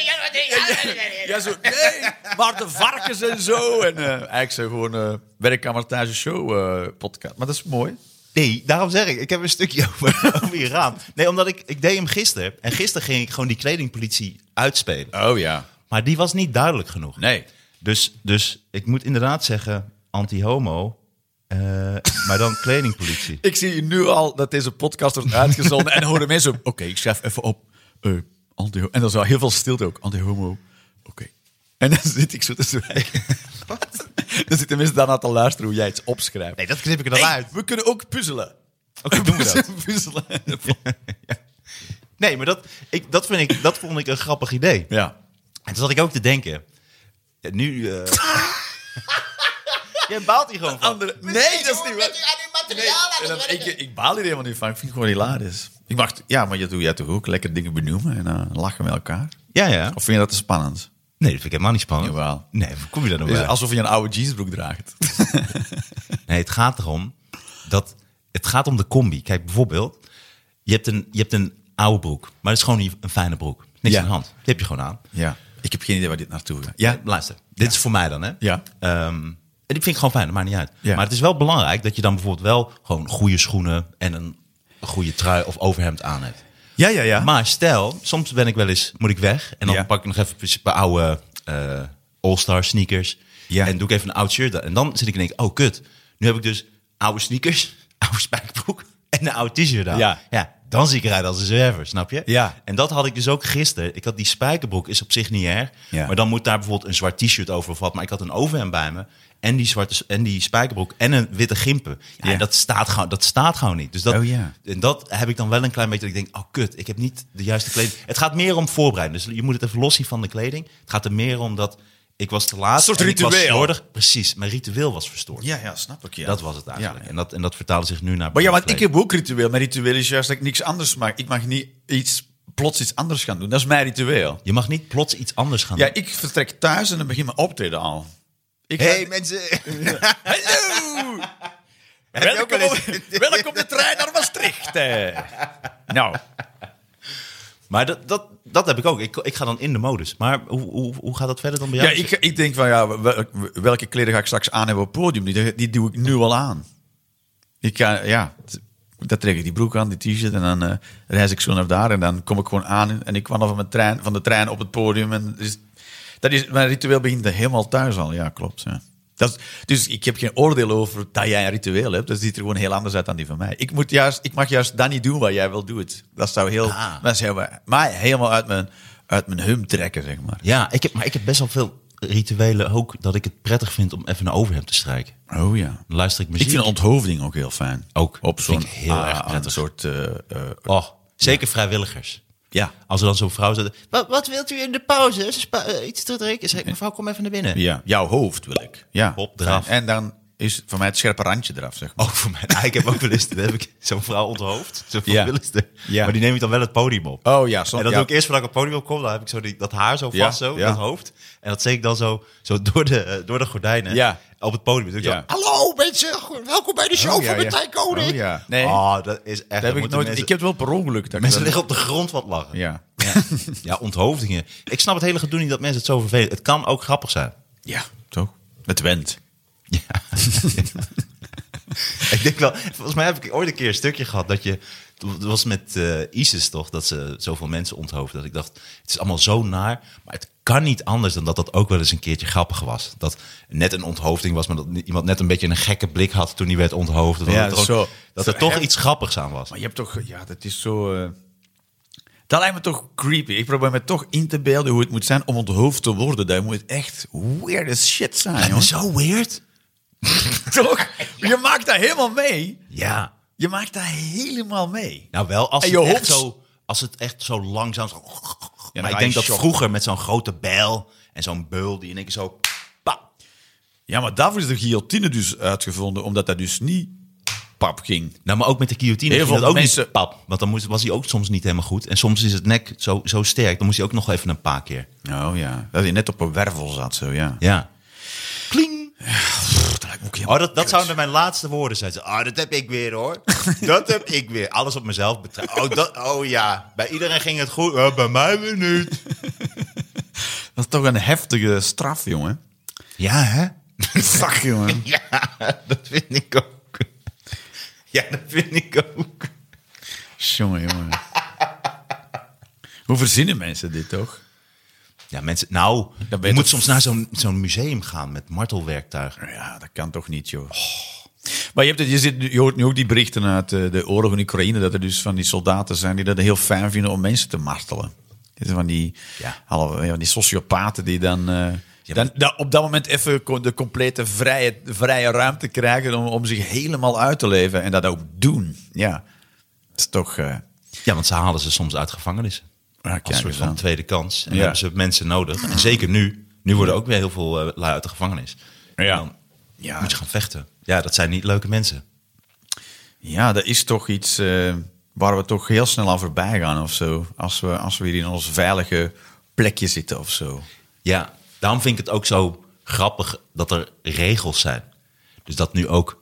[SPEAKER 2] ja, zo, nee, maar de varkens en zo. En eh, eigenlijk zo gewoon eh werkkamertage show eh, podcast. Maar dat is mooi.
[SPEAKER 1] Nee, daarom zeg ik, ik heb een stukje over, over Iran. Nee, omdat ik, ik deed hem gisteren en gisteren ging ik gewoon die kledingpolitie uitspelen.
[SPEAKER 2] Oh ja.
[SPEAKER 1] Maar die was niet duidelijk genoeg.
[SPEAKER 2] Nee.
[SPEAKER 1] Dus, dus ik moet inderdaad zeggen, anti-homo, eh, maar dan kledingpolitie.
[SPEAKER 2] Ik zie nu al dat deze podcast wordt uitgezonden en horen mensen. Oké, ik schrijf even op. eh, anti en dan is wel heel veel stilte ook. Anti-homo. Oké. En dan zit ik zo te zwijgen. Wat? Dan zitten mensen daarna te luisteren hoe jij iets opschrijft.
[SPEAKER 1] Nee, dat knip ik er dan
[SPEAKER 2] Hey,
[SPEAKER 1] uit.
[SPEAKER 2] we kunnen ook puzzelen.
[SPEAKER 1] Oké, doen we dat.
[SPEAKER 2] puzzelen.
[SPEAKER 1] Nee, maar dat, ik, dat, vind ik, dat vond ik een grappig idee.
[SPEAKER 2] Ja.
[SPEAKER 1] En toen zat ik ook te denken. ja, nu. eh, Jij baalt hier gewoon van.
[SPEAKER 2] Andere, nee, dat is niet waar. Nee, en dan- ik, ik baal hier helemaal niet van. Ik vind het gewoon hilarisch. Ik mag, ja, maar je doet jij toch ook lekker dingen benoemen en eh, lachen met elkaar?
[SPEAKER 1] Ja, ja.
[SPEAKER 2] Of vind je dat te spannend?
[SPEAKER 1] Nee, dat vind ik helemaal niet spannend.
[SPEAKER 2] Jawel.
[SPEAKER 1] Nee, hoe kom je daar nou
[SPEAKER 2] Is
[SPEAKER 1] bij?
[SPEAKER 2] alsof je een oude jeansbroek draagt.
[SPEAKER 1] Nee, het gaat erom dat het gaat om de combi. Kijk, bijvoorbeeld, je hebt een, je hebt een oude broek, maar het is gewoon een- een fijne broek. Niks
[SPEAKER 2] Ja.
[SPEAKER 1] aan de hand. Die heb je gewoon aan.
[SPEAKER 2] Ja. Eh, Ik heb geen idee waar dit naartoe gaat.
[SPEAKER 1] Ja, luister. Dit is voor mij dan, hè?
[SPEAKER 2] Ja.
[SPEAKER 1] Ehm, En ik vind het gewoon fijn, dat maakt niet uit.
[SPEAKER 2] Ja.
[SPEAKER 1] Maar het is wel belangrijk dat je dan bijvoorbeeld wel gewoon goede schoenen en een goede trui of overhemd aan hebt.
[SPEAKER 2] Ja, ja, ja.
[SPEAKER 1] Maar stel, soms ben ik wel eens, moet ik weg. En dan
[SPEAKER 2] Ja.
[SPEAKER 1] pak ik nog even een paar oude eh All-Star sneakers.
[SPEAKER 2] Ja.
[SPEAKER 1] En doe ik even een oud shirt. aan. En dan zit ik en denk, ik, oh kut. Nu heb ik dus oude sneakers, oude spijkerbroek en een oud t-shirt aan.
[SPEAKER 2] Ja.
[SPEAKER 1] dan zie ik eruit als een zwerver, snap je?
[SPEAKER 2] Ja.
[SPEAKER 1] En dat had ik dus ook gisteren. Ik had die spijkerbroek, is op zich niet erg.
[SPEAKER 2] Ja.
[SPEAKER 1] Maar dan moet daar bijvoorbeeld een zwart t-shirt over of wat. Maar ik had een overhemd bij me. En die, zwarte, s- en die spijkerbroek en een witte gimpen. Ja,
[SPEAKER 2] Ja.
[SPEAKER 1] en dat staat, gewoon, dat staat gewoon niet. Dus dat,
[SPEAKER 2] Oh ja.
[SPEAKER 1] en dat heb ik dan wel een klein beetje dat ik denk, oh kut, ik heb niet de juiste kleding. Het gaat meer om voorbereiding. Dus je moet het even loszien van de kleding. Het gaat er meer om dat ik was te laat.
[SPEAKER 2] Een soort
[SPEAKER 1] en ik was
[SPEAKER 2] ritueel.
[SPEAKER 1] slordig. Precies, mijn ritueel was verstoord.
[SPEAKER 2] Ja, ja, snap ik. Ja.
[SPEAKER 1] Dat was het eigenlijk.
[SPEAKER 2] Ja.
[SPEAKER 1] En, dat, en dat vertaalde zich nu naar
[SPEAKER 2] Maar ja, want ik
[SPEAKER 1] kleding.
[SPEAKER 2] heb ook ritueel. Mijn ritueel is juist dat ik niks anders maak. Ik mag niet iets, plots iets anders gaan doen. Dat is mijn ritueel.
[SPEAKER 1] Je mag niet plots iets anders gaan
[SPEAKER 2] Ja,
[SPEAKER 1] doen.
[SPEAKER 2] ik vertrek thuis en dan begin mijn optreden al. Ik
[SPEAKER 1] Hey,
[SPEAKER 2] mensen! Hallo! Welkom, op- welkom op de trein naar Maastricht! eh. Nou,
[SPEAKER 1] Maar dat, dat, dat heb ik ook. Ik, ik ga dan in de modus. Maar hoe, hoe, hoe gaat dat verder dan bij
[SPEAKER 2] ja,
[SPEAKER 1] jou?
[SPEAKER 2] ik, ik denk van ja, wel- welke kleren ga ik straks aan hebben op het podium? Die, die doe ik nu al aan. Ik ga, ja, t- dan trek ik die broek aan, die t-shirt en dan eh, reis ik zo naar daar en dan kom ik gewoon aan en ik kwam van, mijn trein, van de trein op het podium en dus, dat is, mijn ritueel begint helemaal thuis al. Ja, klopt. Ja. Dat is, dus ik heb geen oordeel over dat jij een ritueel hebt. Dat ziet er gewoon heel anders uit dan die van mij. Ik, moet juist, ik mag juist dat niet doen wat jij wil doen. Dat zou heel,
[SPEAKER 1] Ah.
[SPEAKER 2] dat zou mij helemaal uit mijn, uit mijn hum trekken, zeg maar.
[SPEAKER 1] Ja, ik heb, maar ik heb best wel veel rituelen ook dat ik het prettig vind om even een overhemd te strijken.
[SPEAKER 2] Oh ja.
[SPEAKER 1] Dan luister ik
[SPEAKER 2] Ik
[SPEAKER 1] muziek.
[SPEAKER 2] vind onthoofding ook heel fijn.
[SPEAKER 1] Ook.
[SPEAKER 2] Op
[SPEAKER 1] Vind
[SPEAKER 2] zo'n
[SPEAKER 1] ik heel
[SPEAKER 2] ah,
[SPEAKER 1] erg
[SPEAKER 2] aan
[SPEAKER 1] prettig.
[SPEAKER 2] Een soort. eh, eh,
[SPEAKER 1] Oh, zeker vrijwilligers.
[SPEAKER 2] ja.
[SPEAKER 1] Als er dan zo'n vrouw zegt, wat, wat wilt u in de pauze? Spa- eh, iets te drinken? Zeg ik, mevrouw, kom even naar binnen.
[SPEAKER 2] ja. Jouw hoofd wil ik. Ja.
[SPEAKER 1] Hop, eraf.
[SPEAKER 2] En dan is voor mij het scherpe randje eraf, zeg maar.
[SPEAKER 1] Ook voor mij. Nou, ik heb ook wel eens, dan heb ik zo'n vrouw onthoofd. Zo'n
[SPEAKER 2] Ja.
[SPEAKER 1] vrijwilligster.
[SPEAKER 2] Ja.
[SPEAKER 1] Maar die neem ik dan wel het podium op.
[SPEAKER 2] Oh ja, soms.
[SPEAKER 1] en dat
[SPEAKER 2] ja.
[SPEAKER 1] doe ik eerst voordat ik op het podium opkom. Dan heb ik zo die, dat haar zo vast,
[SPEAKER 2] Ja,
[SPEAKER 1] zo,
[SPEAKER 2] ja.
[SPEAKER 1] dat hoofd. En dat steek ik dan zo, zo door, de, eh, door de gordijnen
[SPEAKER 2] Ja.
[SPEAKER 1] op het podium. Dan doe ik
[SPEAKER 2] Ja.
[SPEAKER 1] zo, Hallo mensen, go- welkom bij de show
[SPEAKER 2] Oh, ja,
[SPEAKER 1] van
[SPEAKER 2] ja.
[SPEAKER 1] Martijn Koning.
[SPEAKER 2] Oh, ja. Nee.
[SPEAKER 1] Oh, dat is echt... dan
[SPEAKER 2] Dat heb ik
[SPEAKER 1] moeten
[SPEAKER 2] nooit.
[SPEAKER 1] mensen-
[SPEAKER 2] Ik heb het wel per ongeluk. Dat ik
[SPEAKER 1] Mensen
[SPEAKER 2] dat-
[SPEAKER 1] liggen op de grond wat lachen.
[SPEAKER 2] Ja.
[SPEAKER 1] Ja. ja, onthoofdingen. Ik snap het hele gedoe niet dat mensen het zo vervelen. Het kan ook grappig zijn.
[SPEAKER 2] Ja, toch? Het went.
[SPEAKER 1] Ja. ik denk wel, volgens mij heb ik ooit een keer een stukje gehad dat je. Het was met eh, ISIS toch, dat ze zoveel mensen onthoofden. Dat ik dacht, het is allemaal zo naar. Maar het kan niet anders dan dat dat ook wel eens een keertje grappig was. Dat net een onthoofding was, maar dat iemand net een beetje een gekke blik had toen hij werd onthoofd. Dat,
[SPEAKER 2] Ja,
[SPEAKER 1] het er
[SPEAKER 2] zo.
[SPEAKER 1] ook- dat er toch iets grappigs aan was.
[SPEAKER 2] Maar je hebt toch, ja, dat is zo. eh, dat lijkt me toch creepy. Ik probeer me toch in te beelden hoe het moet zijn om onthoofd te worden. Dat moet echt weird as shit zijn, jongen.
[SPEAKER 1] Zo weird.
[SPEAKER 2] toch? Je maakt daar helemaal mee.
[SPEAKER 1] Ja.
[SPEAKER 2] Je maakt daar helemaal mee.
[SPEAKER 1] Nou, wel als
[SPEAKER 2] En
[SPEAKER 1] het,
[SPEAKER 2] je
[SPEAKER 1] echt
[SPEAKER 2] hoofd-
[SPEAKER 1] zo, als het echt zo langzaam. Zo, maar
[SPEAKER 2] ga
[SPEAKER 1] ik
[SPEAKER 2] je
[SPEAKER 1] denk dat
[SPEAKER 2] shocken.
[SPEAKER 1] vroeger met zo'n grote bijl en zo'n beul die in één keer zo. pa,
[SPEAKER 2] Ja, maar daarvoor is de guillotine dus uitgevonden, omdat dat dus niet pap ging.
[SPEAKER 1] Nou, maar ook met de guillotine
[SPEAKER 2] Heel
[SPEAKER 1] ging
[SPEAKER 2] veel
[SPEAKER 1] dat ook
[SPEAKER 2] mensen-
[SPEAKER 1] niet pap. Want dan moest, was hij ook soms niet helemaal goed. En soms is het nek zo, zo sterk. Dan moest hij ook nog even een paar keer.
[SPEAKER 2] Oh ja, dat hij net op een wervel zat zo, ja.
[SPEAKER 1] Ja. Kling.
[SPEAKER 2] Pff, dat lijkt me ook helemaal
[SPEAKER 1] Oh, dat, dat
[SPEAKER 2] kut.
[SPEAKER 1] zouden mijn laatste woorden zijn. Ze, Oh, dat heb ik weer hoor. Dat heb ik weer. Alles op mezelf betreft. Oh, dat, oh ja, bij iedereen ging het goed. Eh, bij mij weer niet.
[SPEAKER 2] Dat is toch een heftige straf, jongen.
[SPEAKER 1] Ja, hè?
[SPEAKER 2] Fuck, jongen.
[SPEAKER 1] Ja, dat vind ik ook. Ja, dat vind ik ook.
[SPEAKER 2] Jongen, jongen. Hoe verzinnen mensen dit toch?
[SPEAKER 1] Ja, mensen, nou,
[SPEAKER 2] ben je
[SPEAKER 1] je moet
[SPEAKER 2] toch-
[SPEAKER 1] soms naar zo'n zo'n museum gaan met martelwerktuig.
[SPEAKER 2] Ja, dat kan toch niet, joh. Maar je, hebt het, je, zit, nu- je hoort nu ook die berichten uit eh, de oorlog in Oekraïne... dat er dus van die soldaten zijn die dat heel fijn vinden om mensen te martelen. Dit zijn van die,
[SPEAKER 1] Ja.
[SPEAKER 2] halve- ja, van die sociopaten die dan, eh,
[SPEAKER 1] Ja,
[SPEAKER 2] dan, dan op dat moment even co- de complete vrije, vrije ruimte krijgen... Om, om zich helemaal uit te leven en dat ook doen. Ja, dat is toch... eh,
[SPEAKER 1] Ja, want ze halen ze soms uit gevangenissen.
[SPEAKER 2] Ja, kijk
[SPEAKER 1] Als soort
[SPEAKER 2] eens
[SPEAKER 1] van
[SPEAKER 2] aan.
[SPEAKER 1] tweede kans. En
[SPEAKER 2] Ja.
[SPEAKER 1] hebben ze mensen nodig. En zeker nu. Nu worden ook weer heel veel eh, lui uit de gevangenis.
[SPEAKER 2] Ja.
[SPEAKER 1] En Dan
[SPEAKER 2] Ja.
[SPEAKER 1] moet je gaan vechten. Ja, dat zijn niet leuke mensen.
[SPEAKER 2] Ja, dat is toch iets eh, waar we toch heel snel aan voorbij gaan of zo. Als we, als we hier in ons veilige plekje zitten of zo.
[SPEAKER 1] Ja, daarom vind ik het ook zo grappig dat er regels zijn. Dus dat nu ook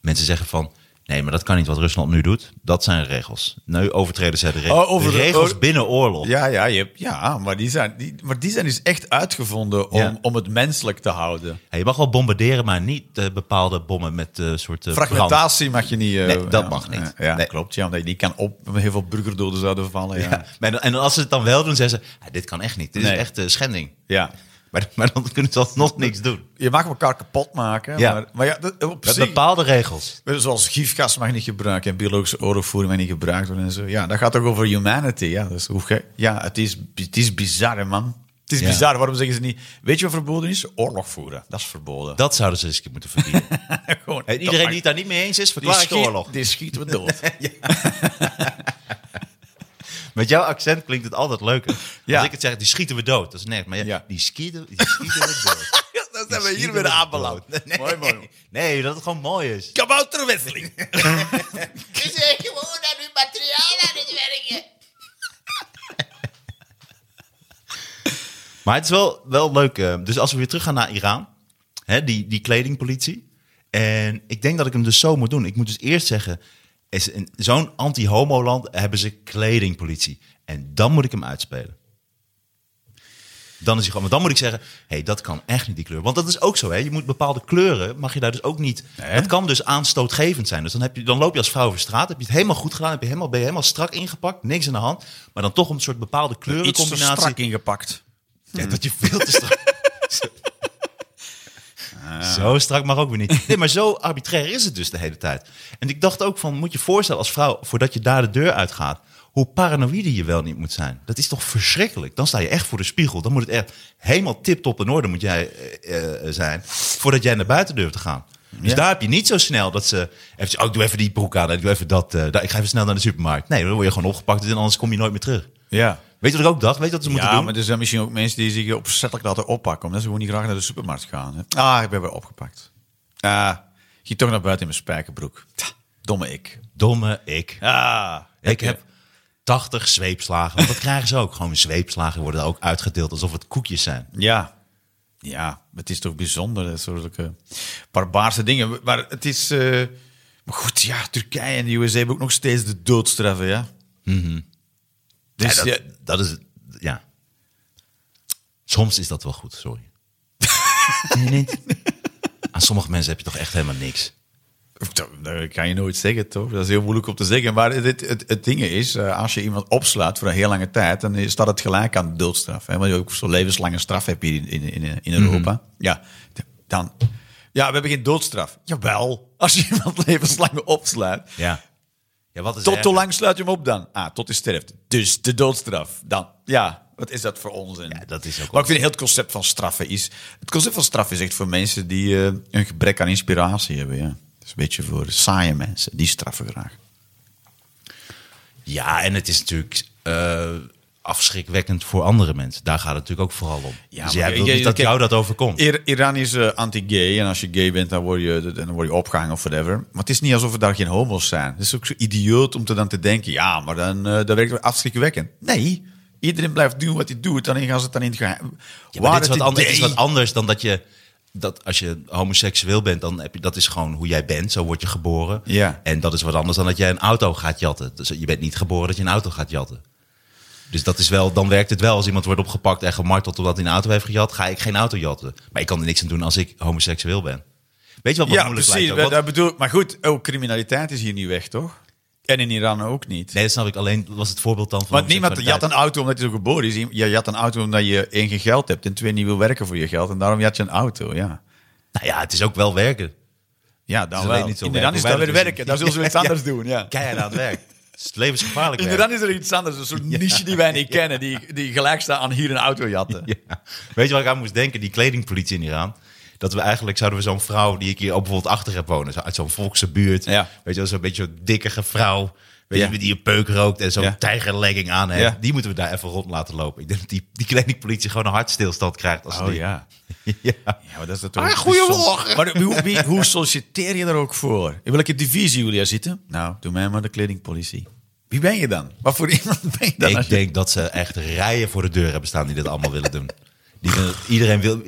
[SPEAKER 1] mensen zeggen van... Nee, maar dat kan niet wat Rusland nu doet. Dat zijn de regels. Nu overtreden zij de regels.
[SPEAKER 2] Oh, over
[SPEAKER 1] de
[SPEAKER 2] de-
[SPEAKER 1] regels
[SPEAKER 2] oh.
[SPEAKER 1] binnen oorlog.
[SPEAKER 2] Ja, ja, je, hebt- ja maar, die zijn, die, maar die zijn dus echt uitgevonden om,
[SPEAKER 1] Ja.
[SPEAKER 2] om het menselijk te houden.
[SPEAKER 1] Ja, je mag wel bombarderen, maar niet eh, bepaalde bommen met eh soort eh, brand.
[SPEAKER 2] Fragmentatie mag je niet... eh,
[SPEAKER 1] Nee, dat
[SPEAKER 2] ja.
[SPEAKER 1] mag niet.
[SPEAKER 2] Ja,
[SPEAKER 1] Nee.
[SPEAKER 2] klopt. Ja, omdat je die kan op heel veel burgerdoden zouden vallen. Ja.
[SPEAKER 1] Ja. Maar dan- En als ze het dan wel doen, zeggen ze: "Ah, Dit kan echt niet. Dit
[SPEAKER 2] Nee.
[SPEAKER 1] is echt eh, schending.
[SPEAKER 2] Ja.
[SPEAKER 1] Maar, maar dan kunnen ze alsnog niks doen.
[SPEAKER 2] Je mag elkaar kapot maken.
[SPEAKER 1] Ja.
[SPEAKER 2] Maar, maar ja, dat, op
[SPEAKER 1] Met
[SPEAKER 2] zich- eh,
[SPEAKER 1] bepaalde regels.
[SPEAKER 2] Zoals gifgas mag niet gebruiken en biologische oorlogvoering mag niet gebruikt worden en zo. Ja, dat gaat toch over humanity. Ja, dat is hoe gek. Ja, het is, bi- het is bizar, hè, man. Het is
[SPEAKER 1] Ja.
[SPEAKER 2] bizar. Waarom zeggen ze niet... Weet je wat verboden is? Oorlog voeren. Dat is verboden.
[SPEAKER 1] Dat zouden ze eens een keer moeten verbieden.
[SPEAKER 2] Gewoon,
[SPEAKER 1] En
[SPEAKER 2] dat
[SPEAKER 1] iedereen
[SPEAKER 2] mag-
[SPEAKER 1] die het daar niet mee eens
[SPEAKER 2] die
[SPEAKER 1] is, verklaar ik de oorlog.
[SPEAKER 2] schiet, die schieten we dood.
[SPEAKER 1] Met jouw accent klinkt het altijd leuker.
[SPEAKER 2] Ja.
[SPEAKER 1] Als ik het zeg, die schieten we dood. Dat is net. Maar ja,
[SPEAKER 2] Ja.
[SPEAKER 1] die, schieten, die schieten we dood.
[SPEAKER 2] Ja, dan
[SPEAKER 1] Die
[SPEAKER 2] zijn we hier
[SPEAKER 1] schieten
[SPEAKER 2] weer
[SPEAKER 1] we
[SPEAKER 2] aanbeland.
[SPEAKER 1] dood. Nee.
[SPEAKER 2] Mooi, mooi.
[SPEAKER 1] Nee, dat het gewoon mooi is.
[SPEAKER 2] Kabouterwisseling.
[SPEAKER 3] Je zegt gewoon aan uw materiaal aan het werken.
[SPEAKER 1] Maar het is wel, wel leuk. eh, Dus als we weer teruggaan naar Iran, hè, die, die kledingpolitie. En ik denk dat ik hem dus zo moet doen. Ik moet dus eerst zeggen, is in zo'n anti-homoland hebben ze kledingpolitie. En dan moet ik hem uitspelen. Dan is hij gewoon. Maar dan moet ik zeggen, hey, dat kan echt niet die kleur. Want dat is ook zo, hè? Je moet bepaalde kleuren, mag je daar dus ook niet. Dat kan dus aanstootgevend zijn. Dus dan, heb je, dan loop je als vrouw over straat, heb je het helemaal goed gedaan, heb je helemaal, ben je helemaal strak ingepakt, niks aan de hand. Maar dan toch een soort bepaalde
[SPEAKER 2] Iets te
[SPEAKER 1] kleurencombinatie.
[SPEAKER 2] strak ingepakt.
[SPEAKER 1] Ja, dat je veel te strak... Zo strak mag ook weer niet. Nee, maar zo arbitrair is het dus de hele tijd. En ik dacht ook van, moet je voorstellen als vrouw... voordat je daar de deur uitgaat... hoe paranoïde je wel niet moet zijn. Dat is toch verschrikkelijk? Dan sta je echt voor de spiegel. Dan moet het echt helemaal tip-top in orde moet jij, eh, eh, zijn... voordat jij naar buiten durft te gaan. Dus daar heb je niet zo snel dat ze... Even, oh, ik doe even die broek aan. Ik doe even dat. eh, daar- ik ga even snel naar de supermarkt. Nee, dan word je gewoon opgepakt... en anders kom je nooit meer terug.
[SPEAKER 2] Ja.
[SPEAKER 1] Weet je wat ik ook dacht? Weet je wat ze moeten
[SPEAKER 2] ja,
[SPEAKER 1] doen?
[SPEAKER 2] maar er zijn misschien ook mensen die zich opzettelijk laten oppakken. Omdat ze gewoon niet graag naar de supermarkt gaan. Hè. Ah, ik ben weer opgepakt. Ah, ging toch naar buiten in mijn spijkerbroek. Tja, Domme ik.
[SPEAKER 1] Domme ik.
[SPEAKER 2] Ah,
[SPEAKER 1] Ik heb 80 zweepslagen. Want dat krijgen ze ook. Gewoon zweepslagen worden ook uitgedeeld alsof het koekjes zijn.
[SPEAKER 2] Ja. Ja, het is toch bijzonder, dat soort eh, barbaarse dingen. Maar het is... eh, maar goed, ja, Turkije en de USA hebben ook nog steeds de doodstraffen, ja. Dus
[SPEAKER 1] Ja,
[SPEAKER 2] ja,
[SPEAKER 1] dat, dat is het. Ja. Soms is dat wel goed, sorry. Nee, niet. Aan sommige mensen heb je toch echt helemaal niks.
[SPEAKER 2] Dat, dat kan je nooit zeggen, toch? Dat is heel moeilijk om te zeggen. Maar het, het, het ding is, eh, als je iemand opslaat voor een heel lange tijd, dan staat het gelijk aan de doodstraf. Hè? Want je ook zo'n levenslange straf heb je in, in, in, in Europa. Ja, dan... Ja, we hebben geen doodstraf. Jawel, als je iemand levenslang opslaat.
[SPEAKER 1] Ja. ja wat is
[SPEAKER 2] Tot
[SPEAKER 1] erger?
[SPEAKER 2] hoe lang sluit je hem op dan? Ah, tot hij sterft. Dus de doodstraf. Dan, ja, wat is dat voor onzin?
[SPEAKER 1] Ja, dat is ook
[SPEAKER 2] maar ik vind heel het concept van straffen is... Het concept van straf is echt voor mensen die eh, een gebrek aan inspiratie hebben, ja. Dat is een beetje voor saaie mensen. Die straffen graag.
[SPEAKER 1] Ja, en het is natuurlijk eh, afschrikwekkend voor andere mensen. Daar gaat het natuurlijk ook vooral om. Ja, dus jij
[SPEAKER 2] maar-
[SPEAKER 1] wilt niet
[SPEAKER 2] ja,
[SPEAKER 1] dat
[SPEAKER 2] kijk,
[SPEAKER 1] jou dat overkomt.
[SPEAKER 2] Ir- Iran is eh, anti-gay. En als je gay bent, dan word je, dan word je opgehangen of whatever. Maar het is niet alsof er daar geen homo's zijn. Het is ook zo idioot om te dan te denken... Ja, maar dan, eh dat werkt wel afschrikwekkend. Nee, iedereen blijft doen wat hij doet. Alleen gaan ze het dan in het geheim...
[SPEAKER 1] Ja, maar dit is
[SPEAKER 2] het
[SPEAKER 1] wat anders, het is
[SPEAKER 2] idee-
[SPEAKER 1] wat anders dan dat je... Dat als je homoseksueel bent, dan heb je, dat is gewoon hoe jij bent. Zo word je geboren.
[SPEAKER 2] Ja.
[SPEAKER 1] En dat is wat anders dan dat jij een auto gaat jatten. Dus je bent niet geboren dat je een auto gaat jatten. Dus dat is wel, dan werkt het wel. Als iemand wordt opgepakt en gemarteld omdat hij een auto heeft gejat, ga ik geen auto jatten. Maar ik kan er niks aan doen als ik homoseksueel ben. Weet je wat me
[SPEAKER 2] Ja,
[SPEAKER 1] moeilijk
[SPEAKER 2] precies.
[SPEAKER 1] lijkt?
[SPEAKER 2] dat-
[SPEAKER 1] ook? Want-
[SPEAKER 2] dat bedoel ik. Maar goed, ook criminaliteit is hier niet weg, toch? En in Iran ook niet.
[SPEAKER 1] nee, dat snap ik. Alleen was het voorbeeld dan van...
[SPEAKER 2] Want niemand jat
[SPEAKER 1] homoseksualiteit.
[SPEAKER 2] een auto omdat hij zo geboren is. Je jat een auto omdat je één geen geld hebt en twee niet wil werken voor je geld. En daarom jat je een auto, ja.
[SPEAKER 1] Nou ja, het is ook wel werken.
[SPEAKER 2] Ja,
[SPEAKER 1] Het
[SPEAKER 2] dan
[SPEAKER 1] is
[SPEAKER 2] wel.
[SPEAKER 1] alleen niet zo
[SPEAKER 2] in Iran
[SPEAKER 1] werken.
[SPEAKER 2] is dat weer
[SPEAKER 1] Hoewel het
[SPEAKER 2] werken. Daar zullen ze iets anders doen, ja.
[SPEAKER 1] Keihard aan het werk. Het is levensgevaarlijk
[SPEAKER 2] In
[SPEAKER 1] werk.
[SPEAKER 2] Iran is er iets anders. Een soort niche die wij niet kennen. Die, die gelijk staat aan hier een auto jatten.
[SPEAKER 1] Ja. Weet je wat ik aan moest denken? Die kledingpolitie in Iran. Dat we eigenlijk zouden we zo'n vrouw die ik hier ook bijvoorbeeld achter heb wonen. zo Uit zo'n volkse buurt.
[SPEAKER 2] Ja.
[SPEAKER 1] Weet je wel, zo'n beetje zo'n dikkige vrouw. Weet
[SPEAKER 2] Ja.
[SPEAKER 1] je, die een peuk rookt en zo'n
[SPEAKER 2] Ja.
[SPEAKER 1] tijgerlegging aan heeft.
[SPEAKER 2] Ja.
[SPEAKER 1] Die moeten we daar even rond laten lopen. Ik denk dat die, die kledingpolitie gewoon een hartstilstand krijgt. Als ze
[SPEAKER 2] Oh
[SPEAKER 1] die-
[SPEAKER 2] ja.
[SPEAKER 1] ja.
[SPEAKER 2] Ja, maar dat is
[SPEAKER 1] Ah,
[SPEAKER 2] natuurlijk...
[SPEAKER 1] goeiemorgen.
[SPEAKER 2] Maar hoe, wie, hoe solliciteer je daar ook voor? In welke divisie wil jij zitten? Nou, doe mij maar de kledingpolitie. Wie ben je dan? Wat voor iemand ben je dan? als
[SPEAKER 1] Ik
[SPEAKER 2] je-
[SPEAKER 1] denk dat ze echt rijen voor de deur hebben staan die dit allemaal willen doen. Die, iedereen wil...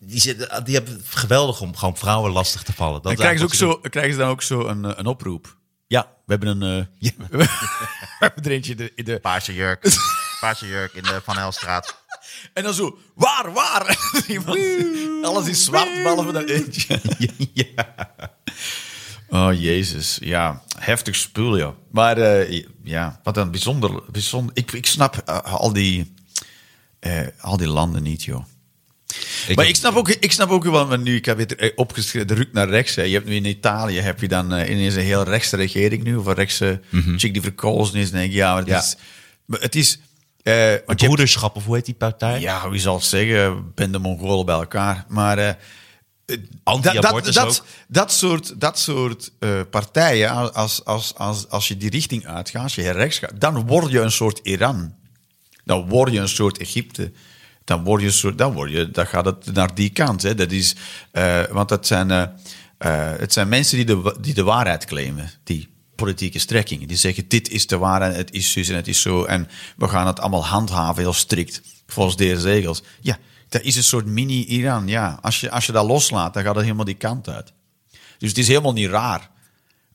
[SPEAKER 1] Die, zit, die hebben geweldig om gewoon vrouwen lastig te vallen. Dat
[SPEAKER 2] Dan krijgen ze, ook
[SPEAKER 1] is eigenlijk
[SPEAKER 2] zo, krijgen ze dan ook zo een, eh, een oproep. Ja, we hebben een... eh, we hebben er eentje in de, in de...
[SPEAKER 4] Paarse jurk. Paarse jurk in de Van Helstraat.
[SPEAKER 2] En dan zo, waar, waar? Iemand- alles is zwart, behalve dat eentje. Oh, jezus. Ja, heftig spul, ja. Maar eh, ja, wat een bijzonder... bijzonder ik, ik snap eh, al, die, eh, al die landen niet, joh.
[SPEAKER 1] Ik
[SPEAKER 2] maar
[SPEAKER 1] heb-
[SPEAKER 2] ik snap ook, ik snap ook wel, want nu, ik heb het eh, opgeschreven, de ruk naar rechts. Hè. Je hebt nu in Italië, heb je dan eh, ineens een heel rechtse regering nu, of een rechtse chick die verkozen is. En denk ik, ja, maar het
[SPEAKER 1] Mhm. Ja.
[SPEAKER 2] is... Maar het is eh,
[SPEAKER 1] zo-
[SPEAKER 2] want je hebt-
[SPEAKER 1] Broederschap, of hoe heet die partij?
[SPEAKER 2] ja, wie zal het zeggen? Ben de Mongolen bij elkaar. Maar eh, dat, dat,
[SPEAKER 1] Anti-abortus
[SPEAKER 2] dat,
[SPEAKER 1] ook.
[SPEAKER 2] dat soort, dat soort eh, partijen, als, als, als, als je die richting uitgaat, als je heel rechts gaat, dan word je een soort Iran. Dan word je een soort Egypte. Dan word je een soort, dan word je, dan gaat het naar die kant. Hè. Dat is, eh, want dat zijn, eh, eh, het zijn mensen die de, wa- die de waarheid claimen, die politieke strekkingen. Die zeggen, dit is de waarheid, het is zus en het is zo. En we gaan het allemaal handhaven, heel strikt, volgens deze regels. Ja, dat is een soort mini-Iran, ja. Als je, als je dat loslaat, dan gaat het helemaal die kant uit. Dus het is helemaal niet raar.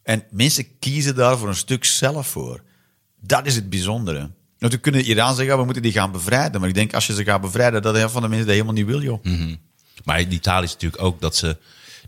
[SPEAKER 2] En mensen kiezen daar voor een stuk zelf voor. Dat is het bijzondere. Want we kunnen Iran zeggen, we moeten die gaan bevrijden. Maar ik denk, als je ze gaat bevrijden, dat heel van de mensen dat helemaal niet wil, joh.
[SPEAKER 1] Hm. Maar in Italië is natuurlijk ook dat ze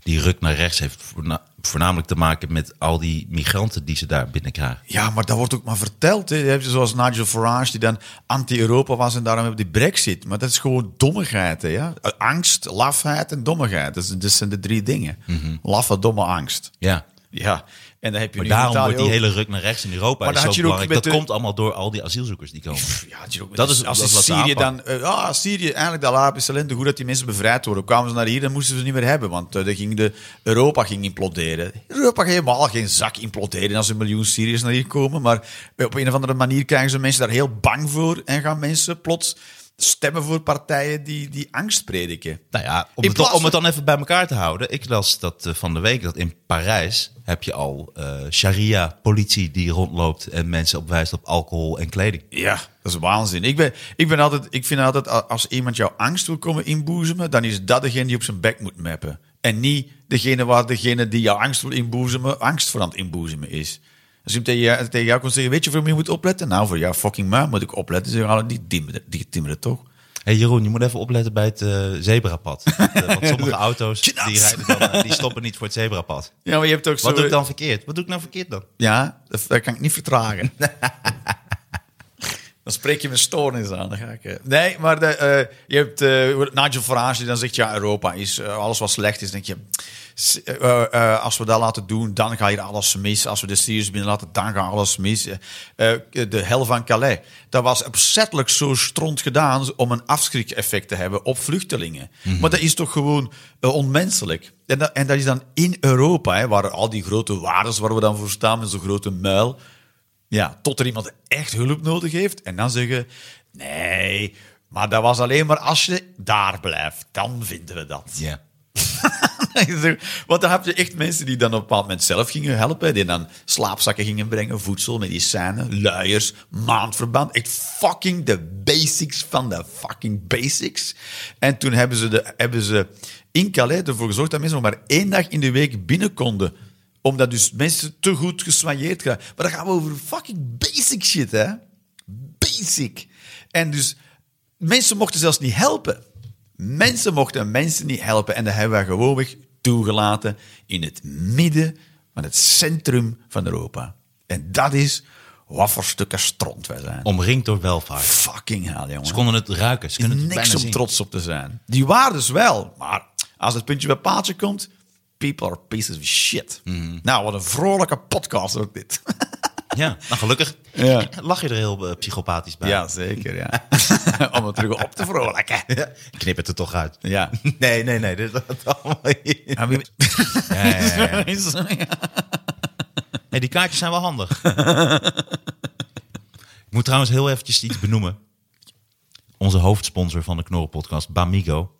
[SPEAKER 1] die ruk naar rechts heeft voorna- voornamelijk te maken met al die migranten die ze daar binnenkrijgen.
[SPEAKER 2] Ja, maar dat wordt ook maar verteld. Hè. Je hebt zoals Nigel Farage, die dan anti-Europa was en daarom hebben die brexit. Maar dat is gewoon dommigheid, hè, ja. Angst, lafheid en dommigheid. Dat, is- dat zijn de drie dingen. Laffe, domme angst.
[SPEAKER 1] Ja.
[SPEAKER 2] Ja, en dan heb je
[SPEAKER 1] Mhm. Maar
[SPEAKER 2] nu in
[SPEAKER 1] daarom
[SPEAKER 2] Italië
[SPEAKER 1] wordt die
[SPEAKER 2] ook-
[SPEAKER 1] hele ruk naar rechts in Europa
[SPEAKER 2] Maar dan
[SPEAKER 1] is zo
[SPEAKER 2] had je ook
[SPEAKER 1] belangrijk. Dat
[SPEAKER 2] met de-
[SPEAKER 1] komt allemaal door al die asielzoekers die komen.
[SPEAKER 2] Ja, het is ook-
[SPEAKER 1] Dat is-
[SPEAKER 2] als
[SPEAKER 1] dat
[SPEAKER 2] in
[SPEAKER 1] is wat ze
[SPEAKER 2] Syrië dan.
[SPEAKER 1] aanpakken.
[SPEAKER 2] eh, ah, Syrië, eigenlijk de Arabische lente, goed dat die mensen bevrijd worden. Kwamen ze naar hier, dan moesten ze ze niet meer hebben, want eh, dan ging de, Europa ging imploderen. Europa ging helemaal geen zak imploderen als een miljoen Syriërs naar hier komen, maar eh, op een of andere manier krijgen ze mensen daar heel bang voor en gaan mensen plots stemmen voor partijen die, die angst prediken.
[SPEAKER 1] Nou ja, om
[SPEAKER 2] In
[SPEAKER 1] het, dan-
[SPEAKER 2] plaats
[SPEAKER 1] om het dan even bij elkaar te houden. Ik las dat eh, van de week dat in Parijs heb je al eh, sharia-politie die rondloopt en mensen op wijst op alcohol en kleding.
[SPEAKER 2] Ja, dat is waanzin. Ik, ben, ik, ben altijd, ik vind altijd, a- als iemand jouw angst wil komen inboezemen, dan is dat degene die op zijn bek moet mappen. En niet degene waar degene die jouw angst wil inboezemen, angst voor aan het inboezemen is. Als iemand tegen jou, tegen jou komt zeggen, weet je voor wie je moet opletten? Nou, voor jou fucking maar moet ik opletten. Ze gaan die timmeren, die timmeren toch?
[SPEAKER 1] Hé hey Jeroen, je moet even opletten bij het eh, zebrapad. Want, eh, want sommige auto's die, rijden dan, eh, die stoppen niet voor het zebrapad.
[SPEAKER 2] Ja, maar je hebt ook zo...
[SPEAKER 1] Wat doe ik dan verkeerd? Wat doe ik nou verkeerd dan?
[SPEAKER 2] Ja, dat, dat kan ik niet vertragen. dan spreek je mijn stoornis aan. Dan ga ik, eh. Nee, maar de, eh, je hebt eh Nigel Farage die dan zegt... ja, Europa is eh, alles wat slecht is. denk je, s- eh, eh, als we dat laten doen, dan gaat hier alles mis. Als we de Syriërs binnen laten, dan gaat alles mis. Eh, eh, de hel van Calais. Dat was opzettelijk zo stront gedaan... om een afschrik-effect te hebben op vluchtelingen. Maar dat is toch gewoon eh, onmenselijk. En dat, en dat is dan in Europa, hè, waar al die grote waarden waar we dan voor staan... met zo'n grote muil... Ja, tot er iemand echt hulp nodig heeft. En dan zeggen, nee, maar dat was alleen maar als je daar blijft. Dan vinden we dat.
[SPEAKER 1] Ja.
[SPEAKER 2] Want dan heb je echt mensen die dan op een bepaald moment zelf gingen helpen. Die dan slaapzakken gingen brengen, voedsel, medicijnen, luiers, maandverband. Echt fucking de basics van de fucking basics. En toen hebben ze, de, hebben ze in Calais ervoor gezorgd dat mensen nog maar één dag in de week binnen konden. Omdat dus mensen te goed geswailleerd gaan. Maar dan gaan we over fucking basic shit, hè. Basic. En dus mensen mochten zelfs niet helpen. Mensen mochten mensen niet helpen en dat hebben we gewoonweg toegelaten in het midden van het centrum van Europa. En dat is wat voor stukken stront wij zijn.
[SPEAKER 1] Omringd door welvaart.
[SPEAKER 2] Fucking hell, jongen.
[SPEAKER 1] Ze konden het ruiken. Ze kunnen het
[SPEAKER 2] niks
[SPEAKER 1] bijna
[SPEAKER 2] om
[SPEAKER 1] zien.
[SPEAKER 2] trots op te zijn. Die waren dus wel, maar als het puntje bij paaltje komt, people are pieces of shit.
[SPEAKER 1] Mhm.
[SPEAKER 2] Nou, wat een vrolijke podcast ook dit.
[SPEAKER 1] Ja, nou gelukkig
[SPEAKER 2] Ja.
[SPEAKER 1] lach je er heel eh, psychopathisch bij.
[SPEAKER 2] Ja, zeker, ja. om het terug op te vrolijken.
[SPEAKER 1] Ja, ik knip het er toch uit.
[SPEAKER 2] Ja.
[SPEAKER 1] Nee, nee, nee. Dit is allemaal hier.
[SPEAKER 2] Ja, wie-
[SPEAKER 1] Hey, die kaartjes zijn wel handig. ik moet trouwens heel eventjes iets benoemen. Onze hoofdsponsor van de Knorrenpodcast, Bamigo.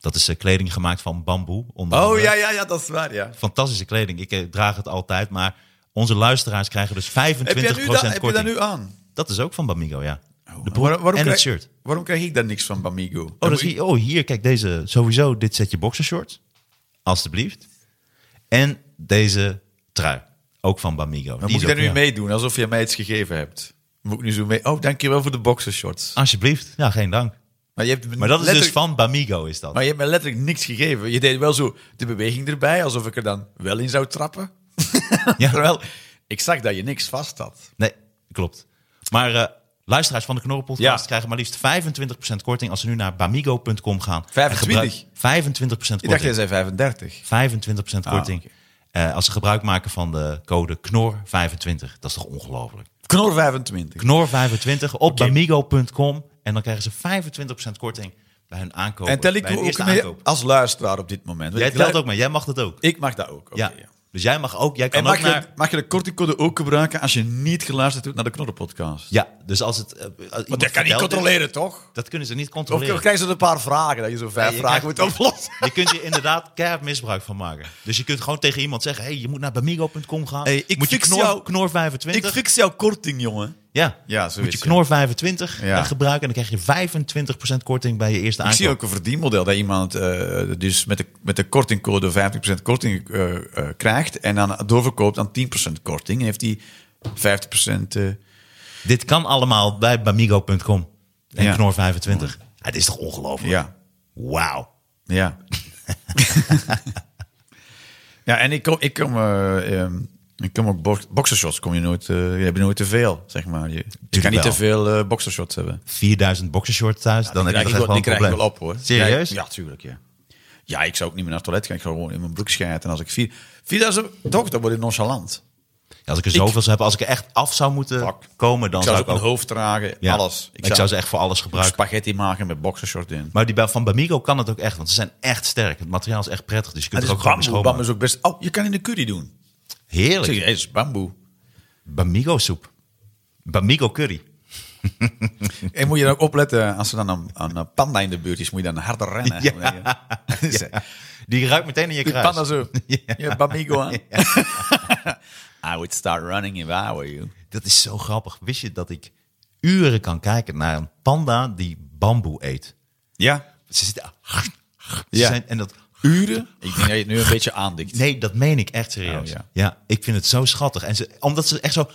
[SPEAKER 1] Dat is eh, kleding gemaakt van bamboe. onder
[SPEAKER 2] Oh
[SPEAKER 1] andere.
[SPEAKER 2] ja, ja, ja, dat is waar, ja.
[SPEAKER 1] Fantastische kleding. Ik eh, draag het altijd. Maar onze luisteraars krijgen dus 25%
[SPEAKER 2] Heb jij nu dat,
[SPEAKER 1] korting.
[SPEAKER 2] heb je dat nu aan?
[SPEAKER 1] Dat is ook van Bamigo, ja. De broek
[SPEAKER 2] Waar- waarom
[SPEAKER 1] en het
[SPEAKER 2] krijg-
[SPEAKER 1] shirt.
[SPEAKER 2] Waarom krijg ik daar niks van Bamigo?
[SPEAKER 1] Oh, dat zie je- oh, hier, kijk, deze. Sowieso, dit setje boxershorts. Alsjeblieft. En deze trui. Ook van Bamigo. Die
[SPEAKER 2] Dan
[SPEAKER 1] is
[SPEAKER 2] moet ik daar
[SPEAKER 1] ook-
[SPEAKER 2] nu
[SPEAKER 1] ja.
[SPEAKER 2] mee doen, alsof je mij iets gegeven hebt. Moet ik nu zo mee... Oh, dankjewel voor de boxershorts.
[SPEAKER 1] Alsjeblieft. Ja, geen dank.
[SPEAKER 2] Maar, je hebt me
[SPEAKER 1] Maar dat is dus
[SPEAKER 2] letterlijk-
[SPEAKER 1] van Bamigo, is dat.
[SPEAKER 2] Maar je hebt me letterlijk niks gegeven. Je deed wel zo de beweging erbij, alsof ik er dan wel in zou trappen.
[SPEAKER 1] Ja.
[SPEAKER 2] Terwijl ik zag dat je niks vast had.
[SPEAKER 1] Nee, klopt. Maar eh, luisteraars van de Knorrenpodcast
[SPEAKER 2] Ja.
[SPEAKER 1] krijgen maar liefst 25% korting als ze nu naar bamigo.com gaan.
[SPEAKER 2] 25?
[SPEAKER 1] En gebruik- 25%
[SPEAKER 2] Ik dacht, jij
[SPEAKER 1] korting.
[SPEAKER 2] zei 35.
[SPEAKER 1] 25% korting.
[SPEAKER 2] oké.
[SPEAKER 1] Eh, als ze gebruik maken van de code KNOR25. Dat is toch ongelooflijk?
[SPEAKER 2] Knor 25.
[SPEAKER 1] KNOR25 op bamigo.com. En dan krijgen ze 25% korting bij hun aankoop.
[SPEAKER 2] En tel ik
[SPEAKER 1] bij hun
[SPEAKER 2] ook
[SPEAKER 1] eerste
[SPEAKER 2] mee
[SPEAKER 1] aankoop.
[SPEAKER 2] als luisteraar op dit moment. Want
[SPEAKER 1] Jij
[SPEAKER 2] ik
[SPEAKER 1] telt
[SPEAKER 2] lu-
[SPEAKER 1] ook mee. Jij mag dat ook.
[SPEAKER 2] Ik mag dat ook. Oké,
[SPEAKER 1] ja.
[SPEAKER 2] ja.
[SPEAKER 1] Dus jij mag ook. Jij kan
[SPEAKER 2] En mag,
[SPEAKER 1] ook naar...
[SPEAKER 2] je, mag je de kortingcode ook gebruiken als je niet geluisterd hebt naar de Knorrenpodcast?
[SPEAKER 1] Ja, dus als het... eh, als
[SPEAKER 2] Want dat
[SPEAKER 1] iemand
[SPEAKER 2] kan je niet
[SPEAKER 1] vertelt-
[SPEAKER 2] controleren, toch?
[SPEAKER 1] Dat kunnen ze niet
[SPEAKER 2] Of
[SPEAKER 1] controleren.
[SPEAKER 2] krijgen ze een paar vragen, dat je zo vijf
[SPEAKER 1] Nee, je
[SPEAKER 2] vragen
[SPEAKER 1] krijgt-
[SPEAKER 2] moet oplossen.
[SPEAKER 1] Je kunt hier inderdaad keihard misbruik van maken. Dus je kunt gewoon tegen iemand zeggen: hey, je moet naar bamigo.com gaan.
[SPEAKER 2] Hey, ik
[SPEAKER 1] moet je
[SPEAKER 2] fix
[SPEAKER 1] knor,
[SPEAKER 2] jou-
[SPEAKER 1] knor 25.
[SPEAKER 2] Ik fix jouw korting, jongen.
[SPEAKER 1] ja.
[SPEAKER 2] Ja, zo
[SPEAKER 1] moet
[SPEAKER 2] is
[SPEAKER 1] je
[SPEAKER 2] het.
[SPEAKER 1] knor 25
[SPEAKER 2] Ja.
[SPEAKER 1] eh, gebruiken en dan krijg je 25% korting bij je eerste
[SPEAKER 2] Ik
[SPEAKER 1] aankoop.
[SPEAKER 2] zie ook een verdienmodel dat iemand eh, dus met de, met de kortingcode 50% korting eh, eh, krijgt en dan doorverkoopt aan 10% korting. Heeft hij 50%. eh,
[SPEAKER 1] Dit kan allemaal bij bamigo.com en
[SPEAKER 2] Ja.
[SPEAKER 1] knor 25. Het is toch ongelooflijk?
[SPEAKER 2] ja,
[SPEAKER 1] Wauw.
[SPEAKER 2] ja. ja, en ik kom, ik kom, eh, ehm, ik kom ook box, boxershots. Kom je nooit, eh, je hebt nooit te veel, zeg maar. Je, je kan niet
[SPEAKER 1] wel.
[SPEAKER 2] te veel eh, boxershots hebben.
[SPEAKER 1] 4000 boxershorts thuis, dan
[SPEAKER 2] Die
[SPEAKER 1] heb je
[SPEAKER 2] krijg ik
[SPEAKER 1] toch
[SPEAKER 2] wel,
[SPEAKER 1] echt
[SPEAKER 2] die
[SPEAKER 1] wel
[SPEAKER 2] krijg
[SPEAKER 1] een
[SPEAKER 2] ik wel
[SPEAKER 1] probleem.
[SPEAKER 2] op, hoor.
[SPEAKER 1] Serieus?
[SPEAKER 2] Ja, ja, tuurlijk, ja. Ja, ik zou ook niet meer naar het toilet gaan. Ik zou gewoon in mijn broek schijten. En als ik vier... Vierduizend... Toch, dan word ik nonchalant.
[SPEAKER 1] Ja, als ik er zoveel zou hebben, als ik er echt af zou moeten
[SPEAKER 2] Fuck.
[SPEAKER 1] komen, dan
[SPEAKER 2] ik zou
[SPEAKER 1] zou
[SPEAKER 2] ze op
[SPEAKER 1] ik
[SPEAKER 2] mijn
[SPEAKER 1] ook...
[SPEAKER 2] hoofd dragen,
[SPEAKER 1] ja.
[SPEAKER 2] alles.
[SPEAKER 1] Ik, zou, ze echt voor alles gebruiken.
[SPEAKER 2] spaghetti maken met boxershort in.
[SPEAKER 1] Maar die bij- van Bamigo kan het ook echt, want ze zijn echt sterk. Het materiaal is echt prettig, dus je kunt
[SPEAKER 2] Het
[SPEAKER 1] er
[SPEAKER 2] is
[SPEAKER 1] ook gewoon mee
[SPEAKER 2] bamboe. Bamboe
[SPEAKER 1] schoonmaken.
[SPEAKER 2] is ook best... Oh, je kan in de curry doen. Ik zeg,
[SPEAKER 1] Heerlijk.
[SPEAKER 2] hey, het is bamboe.
[SPEAKER 1] Bamigo soep. Bamigo curry.
[SPEAKER 2] En moet je dan ook opletten, als er dan een, een eh, panda in de buurt is, moet je dan harder rennen. Dus, eh,
[SPEAKER 1] Die ruikt meteen in je
[SPEAKER 2] Die
[SPEAKER 1] kruis.
[SPEAKER 2] panda zo. Je bamigo aan. I would start running if I were you.
[SPEAKER 1] Dat is zo grappig. Wist je dat ik uren kan kijken naar een panda die bamboe eet?
[SPEAKER 2] Ja.
[SPEAKER 1] Ze zitten... Ze
[SPEAKER 2] Ja.
[SPEAKER 1] zijn, en dat...
[SPEAKER 2] Uren? Ik denk dat je het nu een beetje aandikt.
[SPEAKER 1] Nee, dat meen ik echt serieus.
[SPEAKER 2] Oh,
[SPEAKER 1] ja.
[SPEAKER 2] ja.
[SPEAKER 1] ik vind het zo schattig. En ze, omdat ze echt zo...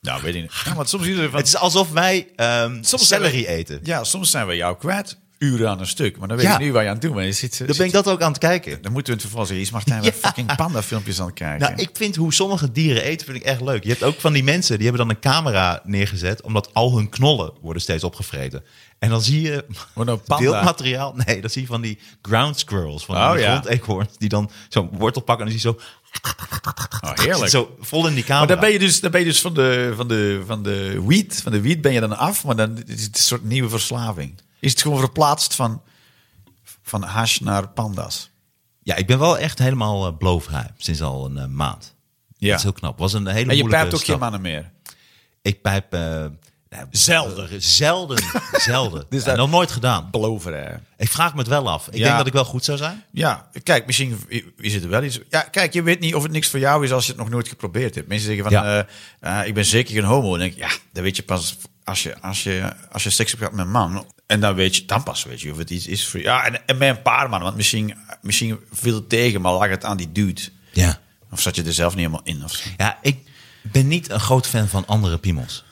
[SPEAKER 2] Nou, weet ik niet. Ja, want soms, is er van,
[SPEAKER 1] Het is alsof wij ehm
[SPEAKER 2] Soms
[SPEAKER 1] celery
[SPEAKER 2] zijn we-
[SPEAKER 1] eten.
[SPEAKER 2] ja, soms zijn we jou kwijt. Uren aan een stuk. Maar dan weet
[SPEAKER 1] Ja.
[SPEAKER 2] je nu waar je aan toe bent. Je zit,
[SPEAKER 1] Dan ben ik dat ook aan het kijken.
[SPEAKER 2] Dan moeten we het vervolgens eens Martijn
[SPEAKER 1] Ja.
[SPEAKER 2] met fucking panda filmpjes aan het kijken.
[SPEAKER 1] Nou, ik vind hoe sommige dieren eten, vind ik echt leuk. Je hebt ook van die mensen, die hebben dan een camera neergezet, omdat al hun knollen worden steeds opgevreten. En dan zie je
[SPEAKER 2] Wordt een panda.
[SPEAKER 1] beeldmateriaal. Nee, dan zie je van die ground squirrels, van
[SPEAKER 2] Oh,
[SPEAKER 1] die
[SPEAKER 2] ja.
[SPEAKER 1] grondeekhoorns, die dan zo'n wortel pakken en dan zie je zo,
[SPEAKER 2] Oh, heerlijk.
[SPEAKER 1] zo vol in die camera.
[SPEAKER 2] Maar dan ben je dus, dan ben je dus van, de, van, de, van de wiet, van de wiet ben je dan af, maar dan is het een soort nieuwe verslaving. Is het gewoon verplaatst van, van hash naar panda's?
[SPEAKER 1] Ja, ik ben wel echt helemaal eh, blowvrij sinds al een eh, maand.
[SPEAKER 2] Ja.
[SPEAKER 1] Dat is heel knap. Was een hele
[SPEAKER 2] En je
[SPEAKER 1] moeilijke
[SPEAKER 2] pijpt ook geen
[SPEAKER 1] stap.
[SPEAKER 2] mannen meer.
[SPEAKER 1] Ik pijp... eh, nou,
[SPEAKER 2] Zelden.
[SPEAKER 1] Zelden. Zelden.
[SPEAKER 2] Dus
[SPEAKER 1] en
[SPEAKER 2] dat-
[SPEAKER 1] nog nooit gedaan.
[SPEAKER 2] Beloven, hè.
[SPEAKER 1] Ik vraag me het wel af. Ik
[SPEAKER 2] Ja.
[SPEAKER 1] denk dat ik wel goed zou zijn.
[SPEAKER 2] Ja, kijk, misschien is het wel iets. Ja, kijk, je weet niet of het niks voor jou is als je het nog nooit geprobeerd hebt. Mensen zeggen van,
[SPEAKER 1] Ja.
[SPEAKER 2] eh, eh, ik ben zeker geen homo. Dan denk ik, ja, dat weet je pas als je, als je, als je seks hebt gehad met een man. En dan weet je, dan pas weet je of het iets is voor jou. Ja, en, en bij een paar mannen, want misschien, misschien viel het tegen, maar lag het aan die dude.
[SPEAKER 1] Ja.
[SPEAKER 2] Of zat je er zelf niet helemaal in? Of zo.
[SPEAKER 1] Ja, ik ben niet een groot fan van andere piemels.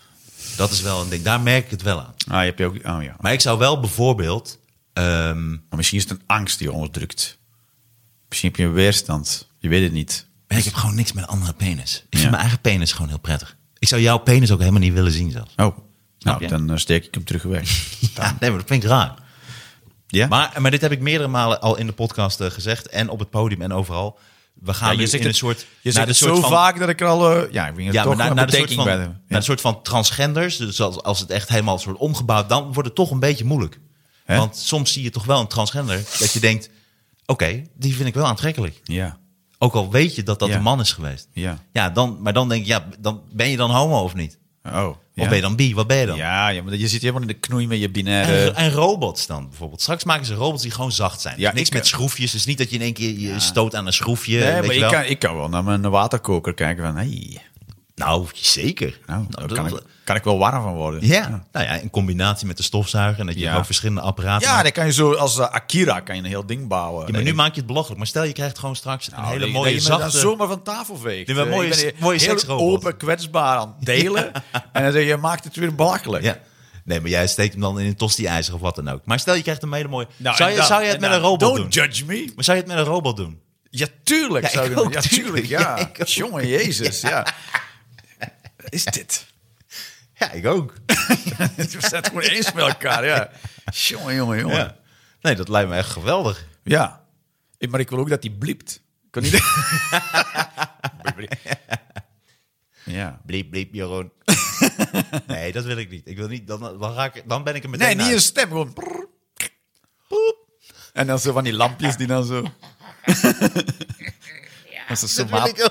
[SPEAKER 1] Dat is wel een ding. Daar merk ik het wel aan.
[SPEAKER 2] Ah, je hebt je ook, oh ja.
[SPEAKER 1] Maar ik zou wel bijvoorbeeld... ehm,
[SPEAKER 2] Maar misschien is het een angst die je onderdrukt. Misschien heb je een weerstand. Je weet het niet.
[SPEAKER 1] ik heb gewoon niks met een andere penis. Ik vind
[SPEAKER 2] Ja.
[SPEAKER 1] mijn eigen penis gewoon heel prettig. Ik zou jouw penis ook helemaal niet willen zien zelfs.
[SPEAKER 2] Oh, nou,
[SPEAKER 1] je?
[SPEAKER 2] dan eh, steek ik hem terug weg.
[SPEAKER 1] Ja, nee, maar dat vind ik raar.
[SPEAKER 2] Ja?
[SPEAKER 1] Maar, maar dit heb ik meerdere malen al in de podcast eh, gezegd. En op het podium en overal. We gaan
[SPEAKER 2] Ja,
[SPEAKER 1] nu
[SPEAKER 2] je zegt het,
[SPEAKER 1] in een soort...
[SPEAKER 2] je
[SPEAKER 1] naar
[SPEAKER 2] zegt
[SPEAKER 1] de
[SPEAKER 2] het
[SPEAKER 1] soort
[SPEAKER 2] zo
[SPEAKER 1] van-
[SPEAKER 2] vaak dat ik er al... eh, ja, ik ben er
[SPEAKER 1] Ja,
[SPEAKER 2] toch
[SPEAKER 1] maar
[SPEAKER 2] naar,
[SPEAKER 1] naar, naar, de soort
[SPEAKER 2] bedenking bij.
[SPEAKER 1] van, naar een soort van transgenders, dus als, als het echt helemaal soort omgebouwd, dan wordt het toch een beetje moeilijk.
[SPEAKER 2] Hè?
[SPEAKER 1] Want soms zie je toch wel een transgender dat je denkt, oké, die vind ik wel aantrekkelijk.
[SPEAKER 2] ja.
[SPEAKER 1] Ook al weet je dat dat
[SPEAKER 2] Ja.
[SPEAKER 1] een man is geweest.
[SPEAKER 2] Ja.
[SPEAKER 1] ja dan, maar dan denk je, ja, dan, ben je dan homo of niet?
[SPEAKER 2] Oh.
[SPEAKER 1] Of ben je dan bi? Wat ben je dan?
[SPEAKER 2] Ja, ja, maar je zit helemaal in de knoei met je binaire...
[SPEAKER 1] En, en robots dan bijvoorbeeld. Straks maken ze robots die gewoon zacht zijn.
[SPEAKER 2] Ja,
[SPEAKER 1] Niks
[SPEAKER 2] ik-
[SPEAKER 1] met schroefjes. Dus niet dat je in één keer je stoot aan een schroefje.
[SPEAKER 2] nee,
[SPEAKER 1] weet
[SPEAKER 2] Eh, maar
[SPEAKER 1] je
[SPEAKER 2] ik
[SPEAKER 1] wel.
[SPEAKER 2] kan, ik kan wel naar mijn waterkoker kijken van... Hey,
[SPEAKER 1] Nou, zeker.
[SPEAKER 5] Nou,
[SPEAKER 1] Nou,
[SPEAKER 5] daar
[SPEAKER 1] dat-
[SPEAKER 5] kan, ik, kan ik wel warm van worden.
[SPEAKER 1] ja. nou ja, in combinatie met de stofzuiger en dat je
[SPEAKER 5] Ja.
[SPEAKER 1] ook verschillende apparaten
[SPEAKER 5] Ja,
[SPEAKER 1] maakt.
[SPEAKER 5] dan kan je zo als eh, Akira kan je een heel ding bouwen.
[SPEAKER 1] Ja, maar nu maak je het belachelijk. Maar stel, je krijgt gewoon straks een
[SPEAKER 5] Nou,
[SPEAKER 1] hele
[SPEAKER 5] dat-
[SPEAKER 1] mooie,
[SPEAKER 5] dat je me dan
[SPEAKER 1] zachte...
[SPEAKER 5] zomaar van tafel veegt.
[SPEAKER 1] Die met
[SPEAKER 5] Eh,
[SPEAKER 1] mooie-
[SPEAKER 5] je bent hier
[SPEAKER 1] mooie
[SPEAKER 5] heel
[SPEAKER 1] seksrobot.
[SPEAKER 5] open, kwetsbaar aan het delen. en dan zeg je, je maakt het weer belachelijk.
[SPEAKER 1] Ja. Nee, maar jij steekt hem dan in een tosti-ijzer of wat dan ook. Maar stel, je krijgt een hele mooie...
[SPEAKER 5] Nou,
[SPEAKER 1] zou,
[SPEAKER 5] en
[SPEAKER 1] je,
[SPEAKER 5] dan-
[SPEAKER 1] zou je het
[SPEAKER 5] en
[SPEAKER 1] met
[SPEAKER 5] dan,
[SPEAKER 1] een robot
[SPEAKER 5] Don't
[SPEAKER 1] doen?
[SPEAKER 5] judge me.
[SPEAKER 1] Maar zou je het met een robot doen?
[SPEAKER 5] Ja, tuurlijk.
[SPEAKER 1] Ja,
[SPEAKER 5] zou
[SPEAKER 1] ik
[SPEAKER 5] je-
[SPEAKER 1] ook,
[SPEAKER 5] ja, tuurlijk.
[SPEAKER 1] tuurlijk.
[SPEAKER 5] Ja.
[SPEAKER 1] Ja, ik ook.
[SPEAKER 5] Jongen, jezus. Ja. Is dit?
[SPEAKER 1] Ja, ik ook.
[SPEAKER 5] We zijn het gewoon eens met elkaar. Ja. Jongen, jongen, jongen. Ja.
[SPEAKER 1] Ja. Nee, dat lijkt me echt geweldig.
[SPEAKER 5] Ik- Maar ik wil ook dat die bliept. Ik Kan niet... ja.
[SPEAKER 1] Bliep, bliep, Jeroen. nee, dat wil ik niet. Ik wil niet dan, dan, raak ik, dan ben ik er meteen
[SPEAKER 5] Nee, niet
[SPEAKER 1] uit.
[SPEAKER 5] een stem. Gewoon... prrr, poep. En dan zo van die lampjes die dan zo... Als een somaat.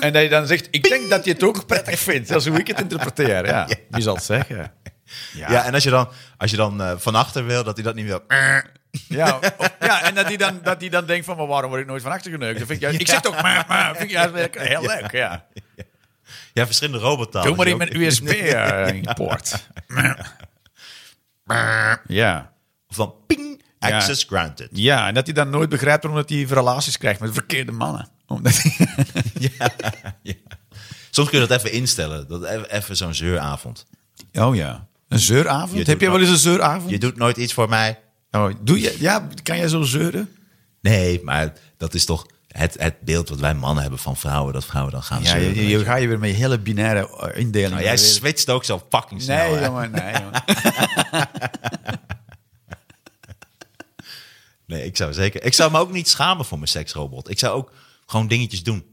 [SPEAKER 5] En dat je dan zegt, ik denk dat je het ook prettig vindt. Dat is hoe ik het interpreteer. Ja. Wie zal het zeggen?
[SPEAKER 1] Ja. en als je dan, als je dan eh, van achter wil, dat hij dat niet wil.
[SPEAKER 5] Eh. Ja, of- ja en dat hij dan, dat die dan denkt van, maar waarom word ik nooit van achter geneukt? Dat vind ik, juist, ik zeg toch, maar, maar, vind ik juist wel heel leuk, ja.
[SPEAKER 1] Ja, verschillende robottalen.
[SPEAKER 5] Doe maar
[SPEAKER 1] die
[SPEAKER 5] in
[SPEAKER 1] ook-
[SPEAKER 5] mijn USB-poort. Ja.
[SPEAKER 1] Of dan ping,
[SPEAKER 5] Ja.
[SPEAKER 1] access granted.
[SPEAKER 5] ja, en dat hij dan nooit begrijpt omdat hij relaties krijgt met verkeerde mannen. Omdat hij-
[SPEAKER 1] Soms kun je dat even instellen. Dat even, even zo'n zeuravond.
[SPEAKER 5] Oh ja, een zeuravond?
[SPEAKER 1] doet
[SPEAKER 5] Heb jij wel
[SPEAKER 1] dat.
[SPEAKER 5] eens een zeuravond?
[SPEAKER 1] Je doet nooit iets voor mij.
[SPEAKER 5] Oh, doe je, ja, kan jij zo zeuren?
[SPEAKER 1] Nee, maar dat is toch het, het beeld wat wij mannen hebben van vrouwen. Dat vrouwen dan gaan
[SPEAKER 5] Ja,
[SPEAKER 1] zeuren.
[SPEAKER 5] je, je- je- ga je weer met je hele binaire eh, indeling.
[SPEAKER 1] Nou, jij switcht ook zo fucking snel.
[SPEAKER 5] Nee,
[SPEAKER 1] hè?
[SPEAKER 5] jongen, nee, jongen.
[SPEAKER 1] Nee, ik zou zeker. Ik zou me ook niet schamen voor mijn seksrobot. Ik zou ook gewoon dingetjes doen.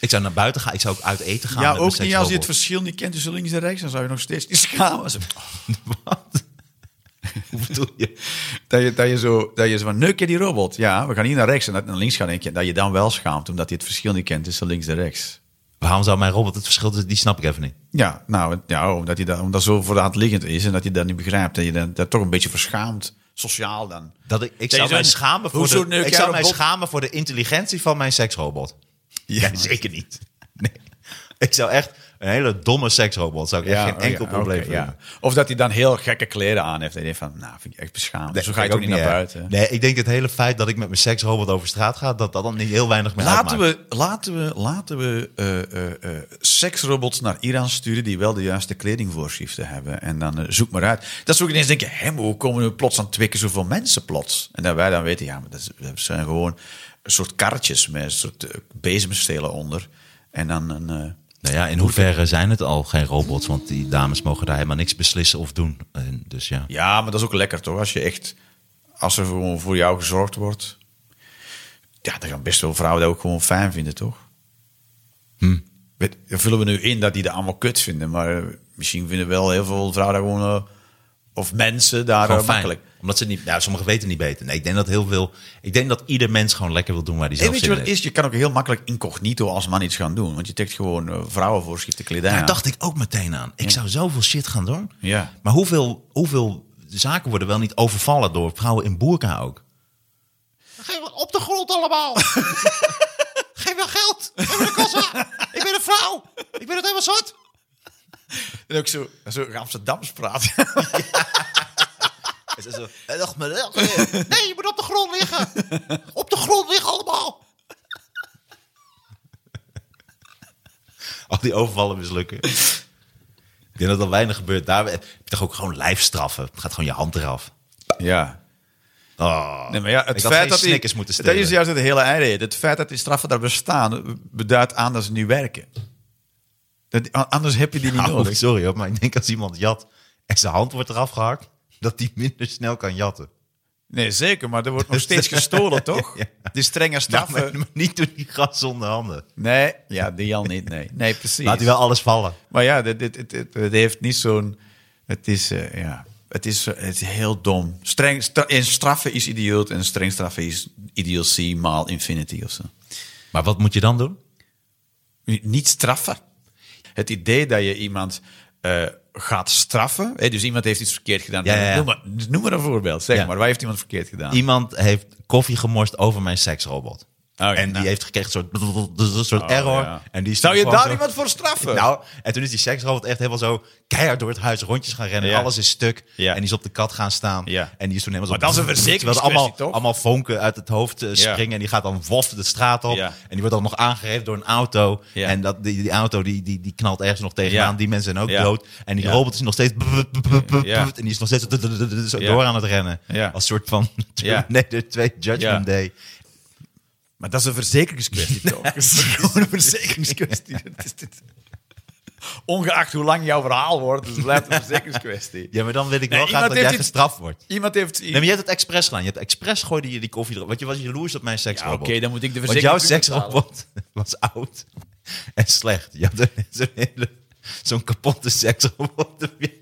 [SPEAKER 1] Ik zou naar buiten gaan. Ik zou ook uit eten gaan.
[SPEAKER 5] Ja,
[SPEAKER 1] met mijn
[SPEAKER 5] ook niet als Ah, je het
[SPEAKER 1] seksrobot.
[SPEAKER 5] verschil niet kent tussen links en rechts, dan zou je nog steeds niet schamen. Zo,
[SPEAKER 1] Wat? Hoe bedoel je?
[SPEAKER 5] Dat je, dat je zo, dat je zo van, neuk je die robot? Ja, we gaan niet naar rechts en dat- naar links gaan. denk je, Dat je dan wel schaamt, omdat je het verschil niet kent tussen links en rechts.
[SPEAKER 1] Waarom zou mijn robot het verschil tussen- Die snap ik even niet.
[SPEAKER 5] Ja, nou, het- ja, omdat, hij dat, omdat zo voor de hand liggend is en dat je dat niet begrijpt. Dat je dan, dat toch een beetje verschaamt, sociaal dan.
[SPEAKER 1] Dat ik, ik
[SPEAKER 5] je
[SPEAKER 1] zou
[SPEAKER 5] zo-
[SPEAKER 1] mij schamen voor
[SPEAKER 5] hoezo
[SPEAKER 1] de,
[SPEAKER 5] neuk
[SPEAKER 1] ik
[SPEAKER 5] jij
[SPEAKER 1] zou mij
[SPEAKER 5] robot?
[SPEAKER 1] schamen voor de intelligentie van mijn seksrobot. Ja, zeker niet. Nee. Ik zou echt een hele domme seksrobot. Zou ik echt
[SPEAKER 5] oh
[SPEAKER 1] geen enkel
[SPEAKER 5] ja,
[SPEAKER 1] probleem
[SPEAKER 5] oké,
[SPEAKER 1] vinden.
[SPEAKER 5] ja. Of dat hij dan heel gekke kleren aan heeft. En je denkt van, nou, vind ik echt beschaamd.
[SPEAKER 1] Nee,
[SPEAKER 5] zo ga je
[SPEAKER 1] ik
[SPEAKER 5] ook niet naar
[SPEAKER 1] hè.
[SPEAKER 5] buiten.
[SPEAKER 1] Nee, ik denk het hele feit dat ik met mijn seksrobot over straat ga, dat dat dan niet heel weinig meer uitmaakt.
[SPEAKER 5] Laten we, laten we, laten we eh, eh, eh, seksrobots naar Iran sturen die wel de juiste kledingvoorschriften hebben. En dan eh, zoek maar uit. Dat ze ook ineens denken, hé, maar hoe komen we plots aan twee keer zoveel mensen plots? En dat wij dan weten, ja, maar dat, is- dat zijn gewoon een soort karretjes met een soort eh, bezemstelen onder. En dan een... eh,
[SPEAKER 1] Nou ja, in hoeverre zijn het al geen robots? Want die dames mogen daar helemaal niks beslissen of doen. En dus ja.
[SPEAKER 5] ja, maar dat is ook lekker toch? Als je echt, als er gewoon voor jou gezorgd wordt. Ja, dan gaan best wel vrouwen dat ook gewoon fijn vinden, toch?
[SPEAKER 1] Hm.
[SPEAKER 5] Weet, vullen we nu in dat die dat allemaal kut vinden, maar eh, misschien vinden wel heel veel vrouwen dat gewoon, eh, of mensen daar
[SPEAKER 1] Gewoon
[SPEAKER 5] eh,
[SPEAKER 1] fijn.
[SPEAKER 5] makkelijk.
[SPEAKER 1] Omdat ze niet, nou, sommigen weten niet beter. Nee, ik denk dat heel veel, ik denk dat ieder mens gewoon lekker wil doen waar hij
[SPEAKER 5] En
[SPEAKER 1] zelf
[SPEAKER 5] weet je
[SPEAKER 1] zin in
[SPEAKER 5] wat het
[SPEAKER 1] heeft.
[SPEAKER 5] is? Je kan ook heel makkelijk incognito als man iets gaan doen. Want je trekt gewoon eh, vrouwenvoorschriften kledij
[SPEAKER 1] Daar
[SPEAKER 5] aan.
[SPEAKER 1] dacht ik ook meteen aan. Ik zou zoveel shit gaan doen.
[SPEAKER 5] Ja.
[SPEAKER 1] Maar hoeveel, hoeveel zaken worden wel niet overvallen door vrouwen in boerka ook?
[SPEAKER 6] Geef me op de grond allemaal. Geef me geld. Geef me de kassa. Ik ben een vrouw. Ik ben het helemaal zat.
[SPEAKER 5] En ook zo, zo Amsterdams praten.
[SPEAKER 1] Dag
[SPEAKER 6] Nee, je moet op de grond liggen. Op de grond liggen allemaal.
[SPEAKER 1] Al die overvallen mislukken. ik denk dat er weinig gebeurt. Daar heb je toch ook gewoon lijfstraffen. Het gaat gewoon je hand eraf.
[SPEAKER 5] ja.
[SPEAKER 1] Oh.
[SPEAKER 5] Nee, maar ja, het
[SPEAKER 1] ik had
[SPEAKER 5] feit
[SPEAKER 1] geen
[SPEAKER 5] dat
[SPEAKER 1] snickers
[SPEAKER 5] die,
[SPEAKER 1] moeten
[SPEAKER 5] Dat
[SPEAKER 1] stelen.
[SPEAKER 5] is juist het hele eieren. Het feit dat die straffen daar bestaan, beduidt aan dat ze niet werken. Dat, anders heb je die niet
[SPEAKER 1] Nou,
[SPEAKER 5] nodig.
[SPEAKER 1] sorry hoor, maar ik denk als iemand jat en zijn hand wordt eraf gehakt, dat die minder snel kan jatten.
[SPEAKER 5] Nee, zeker, maar er wordt nog steeds gestolen, toch? Die strenge
[SPEAKER 1] Nou,
[SPEAKER 5] straffen.
[SPEAKER 1] maar, maar niet door die gast zonder handen.
[SPEAKER 5] Nee, ja, die al niet, nee. Nee, precies.
[SPEAKER 1] Laat hij wel alles vallen.
[SPEAKER 5] Maar ja, dit, dit, dit, dit- het heeft niet zo'n... Het is, eh, ja, het is, eh, het is heel dom. Streng, stra- en straffen is idioot en streng straffen is idiotie maal infinity of zo.
[SPEAKER 1] Maar wat moet je dan doen?
[SPEAKER 5] Niet straffen. Het idee dat je iemand eh, gaat straffen. Hè, dus iemand heeft iets verkeerd gedaan.
[SPEAKER 1] Ja, ja, ja.
[SPEAKER 5] Noem, maar, noem maar een voorbeeld. Zeg
[SPEAKER 1] Ja.
[SPEAKER 5] maar, waar heeft iemand verkeerd gedaan?
[SPEAKER 1] Iemand heeft koffie gemorst over mijn seksrobot.
[SPEAKER 5] ja,
[SPEAKER 1] en die
[SPEAKER 5] nou.
[SPEAKER 1] heeft gekregen een soort, dus een soort error.
[SPEAKER 5] ja.
[SPEAKER 1] En die is
[SPEAKER 5] Zou
[SPEAKER 1] toen
[SPEAKER 5] je
[SPEAKER 1] gewoon
[SPEAKER 5] daar
[SPEAKER 1] zo-
[SPEAKER 5] iemand voor straffen?
[SPEAKER 1] Nou, en toen is die seksrobot echt helemaal zo keihard door het huis rondjes gaan rennen.
[SPEAKER 5] Ja.
[SPEAKER 1] Alles is stuk.
[SPEAKER 5] Ja.
[SPEAKER 1] En die is op de kat gaan staan.
[SPEAKER 5] Ja.
[SPEAKER 1] En die is toen helemaal zo...
[SPEAKER 5] Maar dat is een
[SPEAKER 1] Terwijl er allemaal,
[SPEAKER 5] verzekeringskwestie, toch?
[SPEAKER 1] allemaal vonken uit het hoofd eh, springen. En die gaat dan wof de straat op.
[SPEAKER 5] Ja.
[SPEAKER 1] En die wordt dan nog aangereden door een auto.
[SPEAKER 5] Ja.
[SPEAKER 1] En dat, die, die auto die, die, die knalt ergens nog tegenaan.
[SPEAKER 5] Ja.
[SPEAKER 1] Die mensen zijn ook
[SPEAKER 5] Ja.
[SPEAKER 1] dood. En die
[SPEAKER 5] Ja.
[SPEAKER 1] robot is nog steeds...
[SPEAKER 5] Ja.
[SPEAKER 1] En die is nog steeds zo, zo
[SPEAKER 5] Ja.
[SPEAKER 1] door aan het rennen.
[SPEAKER 5] Ja.
[SPEAKER 1] Als soort van
[SPEAKER 5] Ja.
[SPEAKER 1] Terminator 2 Judgment
[SPEAKER 5] Ja.
[SPEAKER 1] Day.
[SPEAKER 5] Maar dat is een verzekeringskwestie toch? Het is gewoon een verzekeringskwestie. Het is dit. Ongeacht hoe lang jouw verhaal wordt, het blijft een verzekeringskwestie.
[SPEAKER 1] Ja, maar dan wil ik
[SPEAKER 5] Nee,
[SPEAKER 1] wel graag
[SPEAKER 5] iemand
[SPEAKER 1] dat
[SPEAKER 5] heeft
[SPEAKER 1] jij
[SPEAKER 5] iets-
[SPEAKER 1] gestraft wordt.
[SPEAKER 5] Iemand heeft...
[SPEAKER 1] Nee, maar je hebt het expres gedaan. Je hebt expres gooide je die koffie erop. Want je was jaloers op mijn seksrobot.
[SPEAKER 5] Ja, oké, dan moet ik de
[SPEAKER 1] Want
[SPEAKER 5] verzekering
[SPEAKER 1] jouw
[SPEAKER 5] natuurlijk
[SPEAKER 1] seksrobot was oud en slecht. Je had een- zo'n hele... Zo'n kapotte seksrobot. op Je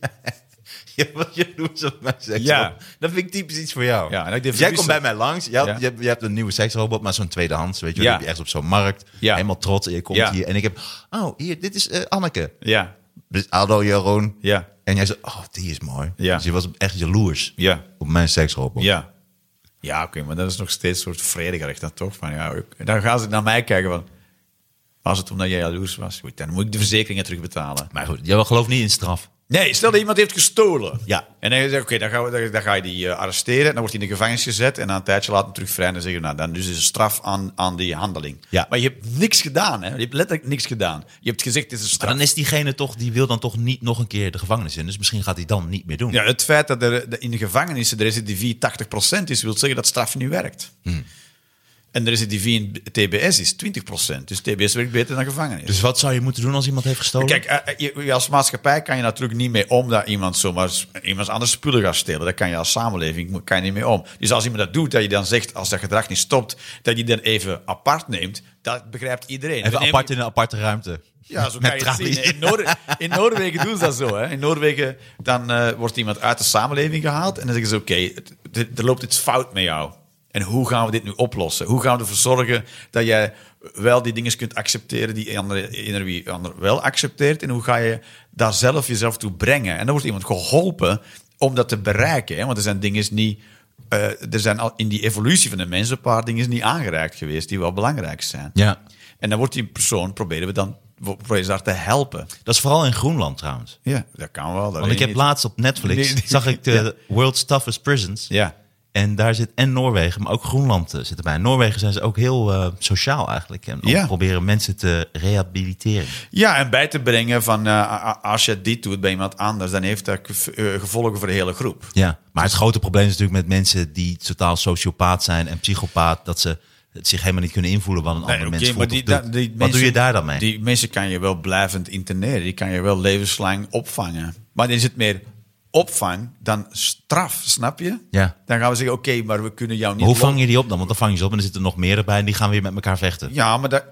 [SPEAKER 1] Je was jaloers op mijn seksrobot.
[SPEAKER 5] Ja.
[SPEAKER 1] Dat vind ik typisch iets voor jou.
[SPEAKER 5] Ja, en ik deed
[SPEAKER 1] Jij komt
[SPEAKER 5] verlies-
[SPEAKER 1] bij mij langs. Je, had-
[SPEAKER 5] Ja.
[SPEAKER 1] je, hebt, je hebt een nieuwe seksrobot, maar zo'n tweedehands. Weet je,
[SPEAKER 5] Ja.
[SPEAKER 1] die heb je echt op zo'n markt.
[SPEAKER 5] Ja.
[SPEAKER 1] Helemaal trots. En je komt
[SPEAKER 5] Ja.
[SPEAKER 1] hier. En ik heb... Oh, hier, dit is eh, Anneke.
[SPEAKER 5] Ja,
[SPEAKER 1] Dus Ado Jeroen.
[SPEAKER 5] Ja.
[SPEAKER 1] En jij zei, oh, die is mooi.
[SPEAKER 5] Ja.
[SPEAKER 1] Dus je was echt jaloers
[SPEAKER 5] ja,
[SPEAKER 1] op mijn seksrobot.
[SPEAKER 5] ja. Ja, oké, maar dat is nog steeds een soort vredigerecht dan toch? Van, ja, oké. dan gaan ze naar mij kijken van... Was het omdat jij jaloers was? Goed, dan moet ik de verzekeringen terugbetalen.
[SPEAKER 1] Maar goed, jij gelooft niet in straf.
[SPEAKER 5] Nee, stel dat iemand heeft gestolen.
[SPEAKER 1] Ja.
[SPEAKER 5] En dan zeg je, oké, dan, gaan we- dan, dan ga je die eh, arresteren. Dan wordt hij in de gevangenis gezet. En na een tijdje laat hem terug vrij. En dan zeg je, nou, dan dus is een straf aan, aan die handeling.
[SPEAKER 1] Ja.
[SPEAKER 5] Maar je hebt niks gedaan, hè. Je hebt letterlijk niks gedaan. Je hebt gezegd, dit is een
[SPEAKER 1] Maar
[SPEAKER 5] straf.
[SPEAKER 1] dan is diegene toch, die wil dan toch niet nog een keer de gevangenis in. Dus misschien gaat hij dan niet meer doen.
[SPEAKER 5] Ja, het feit dat er dat in de gevangenissen de recidivie 80% is, wil zeggen dat straf niet werkt.
[SPEAKER 1] Hmm.
[SPEAKER 5] En de recidivie in TBS is 20%. Dus TBS werkt beter dan gevangenis.
[SPEAKER 1] Dus wat zou je moeten doen als iemand heeft gestolen?
[SPEAKER 5] Kijk, eh, eh, je- je als maatschappij kan je natuurlijk niet mee om dat iemand zomaar s- iemand anders spullen gaat stelen. Daar kan je als samenleving mo- kan je niet mee om. Dus als iemand dat doet, dat je dan zegt, als dat gedrag niet stopt, dat je dan even apart neemt, dat begrijpt iedereen. We
[SPEAKER 1] Even
[SPEAKER 5] nemen-
[SPEAKER 1] apart in een aparte ruimte.
[SPEAKER 5] ja, zo kan je het zien. In, Noor- in Noorwegen doen ze dat zo. Hè. In Noorwegen dan, eh, wordt iemand uit de samenleving gehaald en dan zeggen ze: Oké, het- het- er loopt iets fout met jou. En hoe gaan we dit nu oplossen? Hoe gaan we ervoor zorgen dat jij wel die dingen kunt accepteren die anderen ieder wie ander wel accepteert? En hoe ga je daar zelf jezelf toe brengen? En dan wordt iemand geholpen om dat te bereiken. Hè? Want er zijn dingen niet. eh, er zijn al in die evolutie van de mens een paar dingen niet aangereikt geweest die wel belangrijk zijn.
[SPEAKER 1] Ja.
[SPEAKER 5] En dan wordt die persoon, proberen we dan we proberen ze daar te helpen.
[SPEAKER 1] Dat is vooral in Groenland trouwens.
[SPEAKER 5] Ja, dat kan wel. dat weet
[SPEAKER 1] Want ik heb
[SPEAKER 5] niet.
[SPEAKER 1] laatst op Netflix,
[SPEAKER 5] Nee, nee.
[SPEAKER 1] zag ik de World's Toughest Prisons.
[SPEAKER 5] Ja.
[SPEAKER 1] En daar zit en Noorwegen, maar ook Groenland eh, zit erbij. In Noorwegen zijn ze ook heel eh, sociaal eigenlijk. En om
[SPEAKER 5] Ja.
[SPEAKER 1] proberen mensen te rehabiliteren.
[SPEAKER 5] ja, en bij te brengen van eh, a- a- als je dit doet bij iemand anders, dan heeft dat gev- eh, gevolgen voor de hele groep.
[SPEAKER 1] Ja, maar het grote probleem is natuurlijk met mensen die totaal sociopaat zijn en psychopaat, dat ze het zich helemaal niet kunnen invoelen wat een ander
[SPEAKER 5] Nee, oké,
[SPEAKER 1] mens voelt
[SPEAKER 5] die-
[SPEAKER 1] of doet.
[SPEAKER 5] da- die
[SPEAKER 1] Wat
[SPEAKER 5] mensen-
[SPEAKER 1] doe je daar dan mee?
[SPEAKER 5] Die mensen kan je wel blijvend interneren. Die kan je wel levenslang opvangen. Maar dan is het meer opvang dan straf, snap je?
[SPEAKER 1] Ja.
[SPEAKER 5] Dan gaan we zeggen, oké, maar we kunnen jou niet...
[SPEAKER 1] Maar hoe
[SPEAKER 5] lo-
[SPEAKER 1] vang je die op dan? Want dan vang je ze op en er zitten nog meer erbij en die gaan weer met elkaar vechten.
[SPEAKER 5] Ja, maar dat...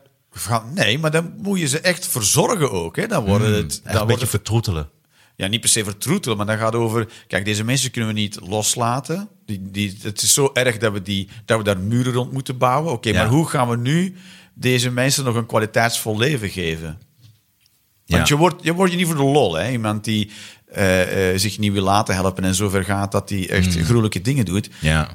[SPEAKER 5] Nee, maar dan moet je ze echt verzorgen ook. Hè? Dan worden het,
[SPEAKER 1] Hmm, Echt een
[SPEAKER 5] dan wordt
[SPEAKER 1] beetje
[SPEAKER 5] het
[SPEAKER 1] vertroetelen.
[SPEAKER 5] Ja, niet per se vertroetelen, maar dat gaat over... Kijk, deze mensen kunnen we niet loslaten. Die, die, het is zo erg dat we, die, dat we daar muren rond moeten bouwen. Oké,
[SPEAKER 1] Ja.
[SPEAKER 5] maar hoe gaan we nu deze mensen nog een kwaliteitsvol leven geven? Want
[SPEAKER 1] Ja.
[SPEAKER 5] je wordt je wordt je niet voor de lol. Hè? Iemand die eh, eh, zich niet wil laten helpen en zover gaat dat hij
[SPEAKER 1] Hmm.
[SPEAKER 5] echt gruwelijke dingen doet.
[SPEAKER 1] Ja.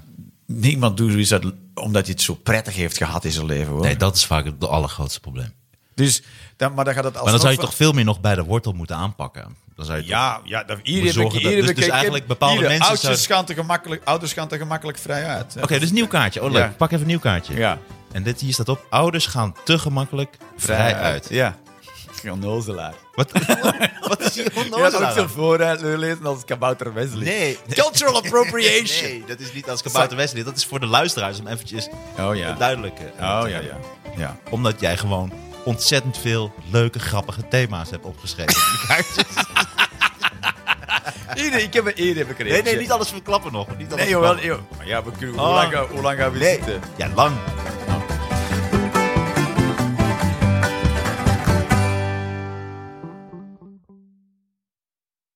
[SPEAKER 5] Niemand doet zoiets uit- omdat hij het zo prettig heeft gehad in zijn leven. Hoor.
[SPEAKER 1] Nee, dat is vaak het allergrootste probleem.
[SPEAKER 5] dus, dan, maar dan gaat het
[SPEAKER 1] Maar dan
[SPEAKER 5] alsnog
[SPEAKER 1] zou je
[SPEAKER 5] van-
[SPEAKER 1] toch veel meer nog bij de wortel moeten aanpakken. Dan zou je toch-
[SPEAKER 5] Ja, ja dat, hier
[SPEAKER 1] Moet
[SPEAKER 5] heb ik,
[SPEAKER 1] zorgen dat-
[SPEAKER 5] hier heb
[SPEAKER 1] dus- dus
[SPEAKER 5] ik- ik heb-
[SPEAKER 1] eigenlijk bepaalde
[SPEAKER 5] hier,
[SPEAKER 1] mensen
[SPEAKER 5] Oudjes
[SPEAKER 1] zouden-
[SPEAKER 5] gaan te gemakkelijk, ouders gaan te gemakkelijk vrij uit. hè.
[SPEAKER 1] Oké, dus nieuw kaartje. Oh leuk,
[SPEAKER 5] Ja.
[SPEAKER 1] pak even een nieuw kaartje.
[SPEAKER 5] Ja.
[SPEAKER 1] En dit hier staat op, ouders gaan te gemakkelijk vrij uit.
[SPEAKER 5] Ja. Onnozelaar.
[SPEAKER 1] Wat, wat is hier
[SPEAKER 5] Je was
[SPEAKER 1] onnozel
[SPEAKER 5] ook
[SPEAKER 1] aan?
[SPEAKER 5] zo vooruit lezen als Kabouter Wesley.
[SPEAKER 1] Nee.
[SPEAKER 5] Cultural appropriation.
[SPEAKER 1] Nee, dat is niet als kabouter Wesley. Dat is voor de luisteraars om eventjes
[SPEAKER 5] Oh ja.
[SPEAKER 1] duidelijk eh,
[SPEAKER 5] Oh ja,
[SPEAKER 1] te
[SPEAKER 5] ja.
[SPEAKER 1] hebben.
[SPEAKER 5] ja.
[SPEAKER 1] Omdat jij gewoon ontzettend veel leuke, grappige thema's hebt opgeschreven. op die kaartjes.
[SPEAKER 5] Hier, ik heb een eer heb ik er
[SPEAKER 1] nee, nee,
[SPEAKER 5] eentje.
[SPEAKER 1] niet alles verklappen nog. Niet alles
[SPEAKER 5] Nee, jawel.
[SPEAKER 1] verklappen.
[SPEAKER 5] joh. Maar ja, we kunnen,
[SPEAKER 1] Oh.
[SPEAKER 5] eh, hoe, lang, gaan- hoe lang gaan we
[SPEAKER 1] Nee,
[SPEAKER 5] zitten?
[SPEAKER 1] ja, lang.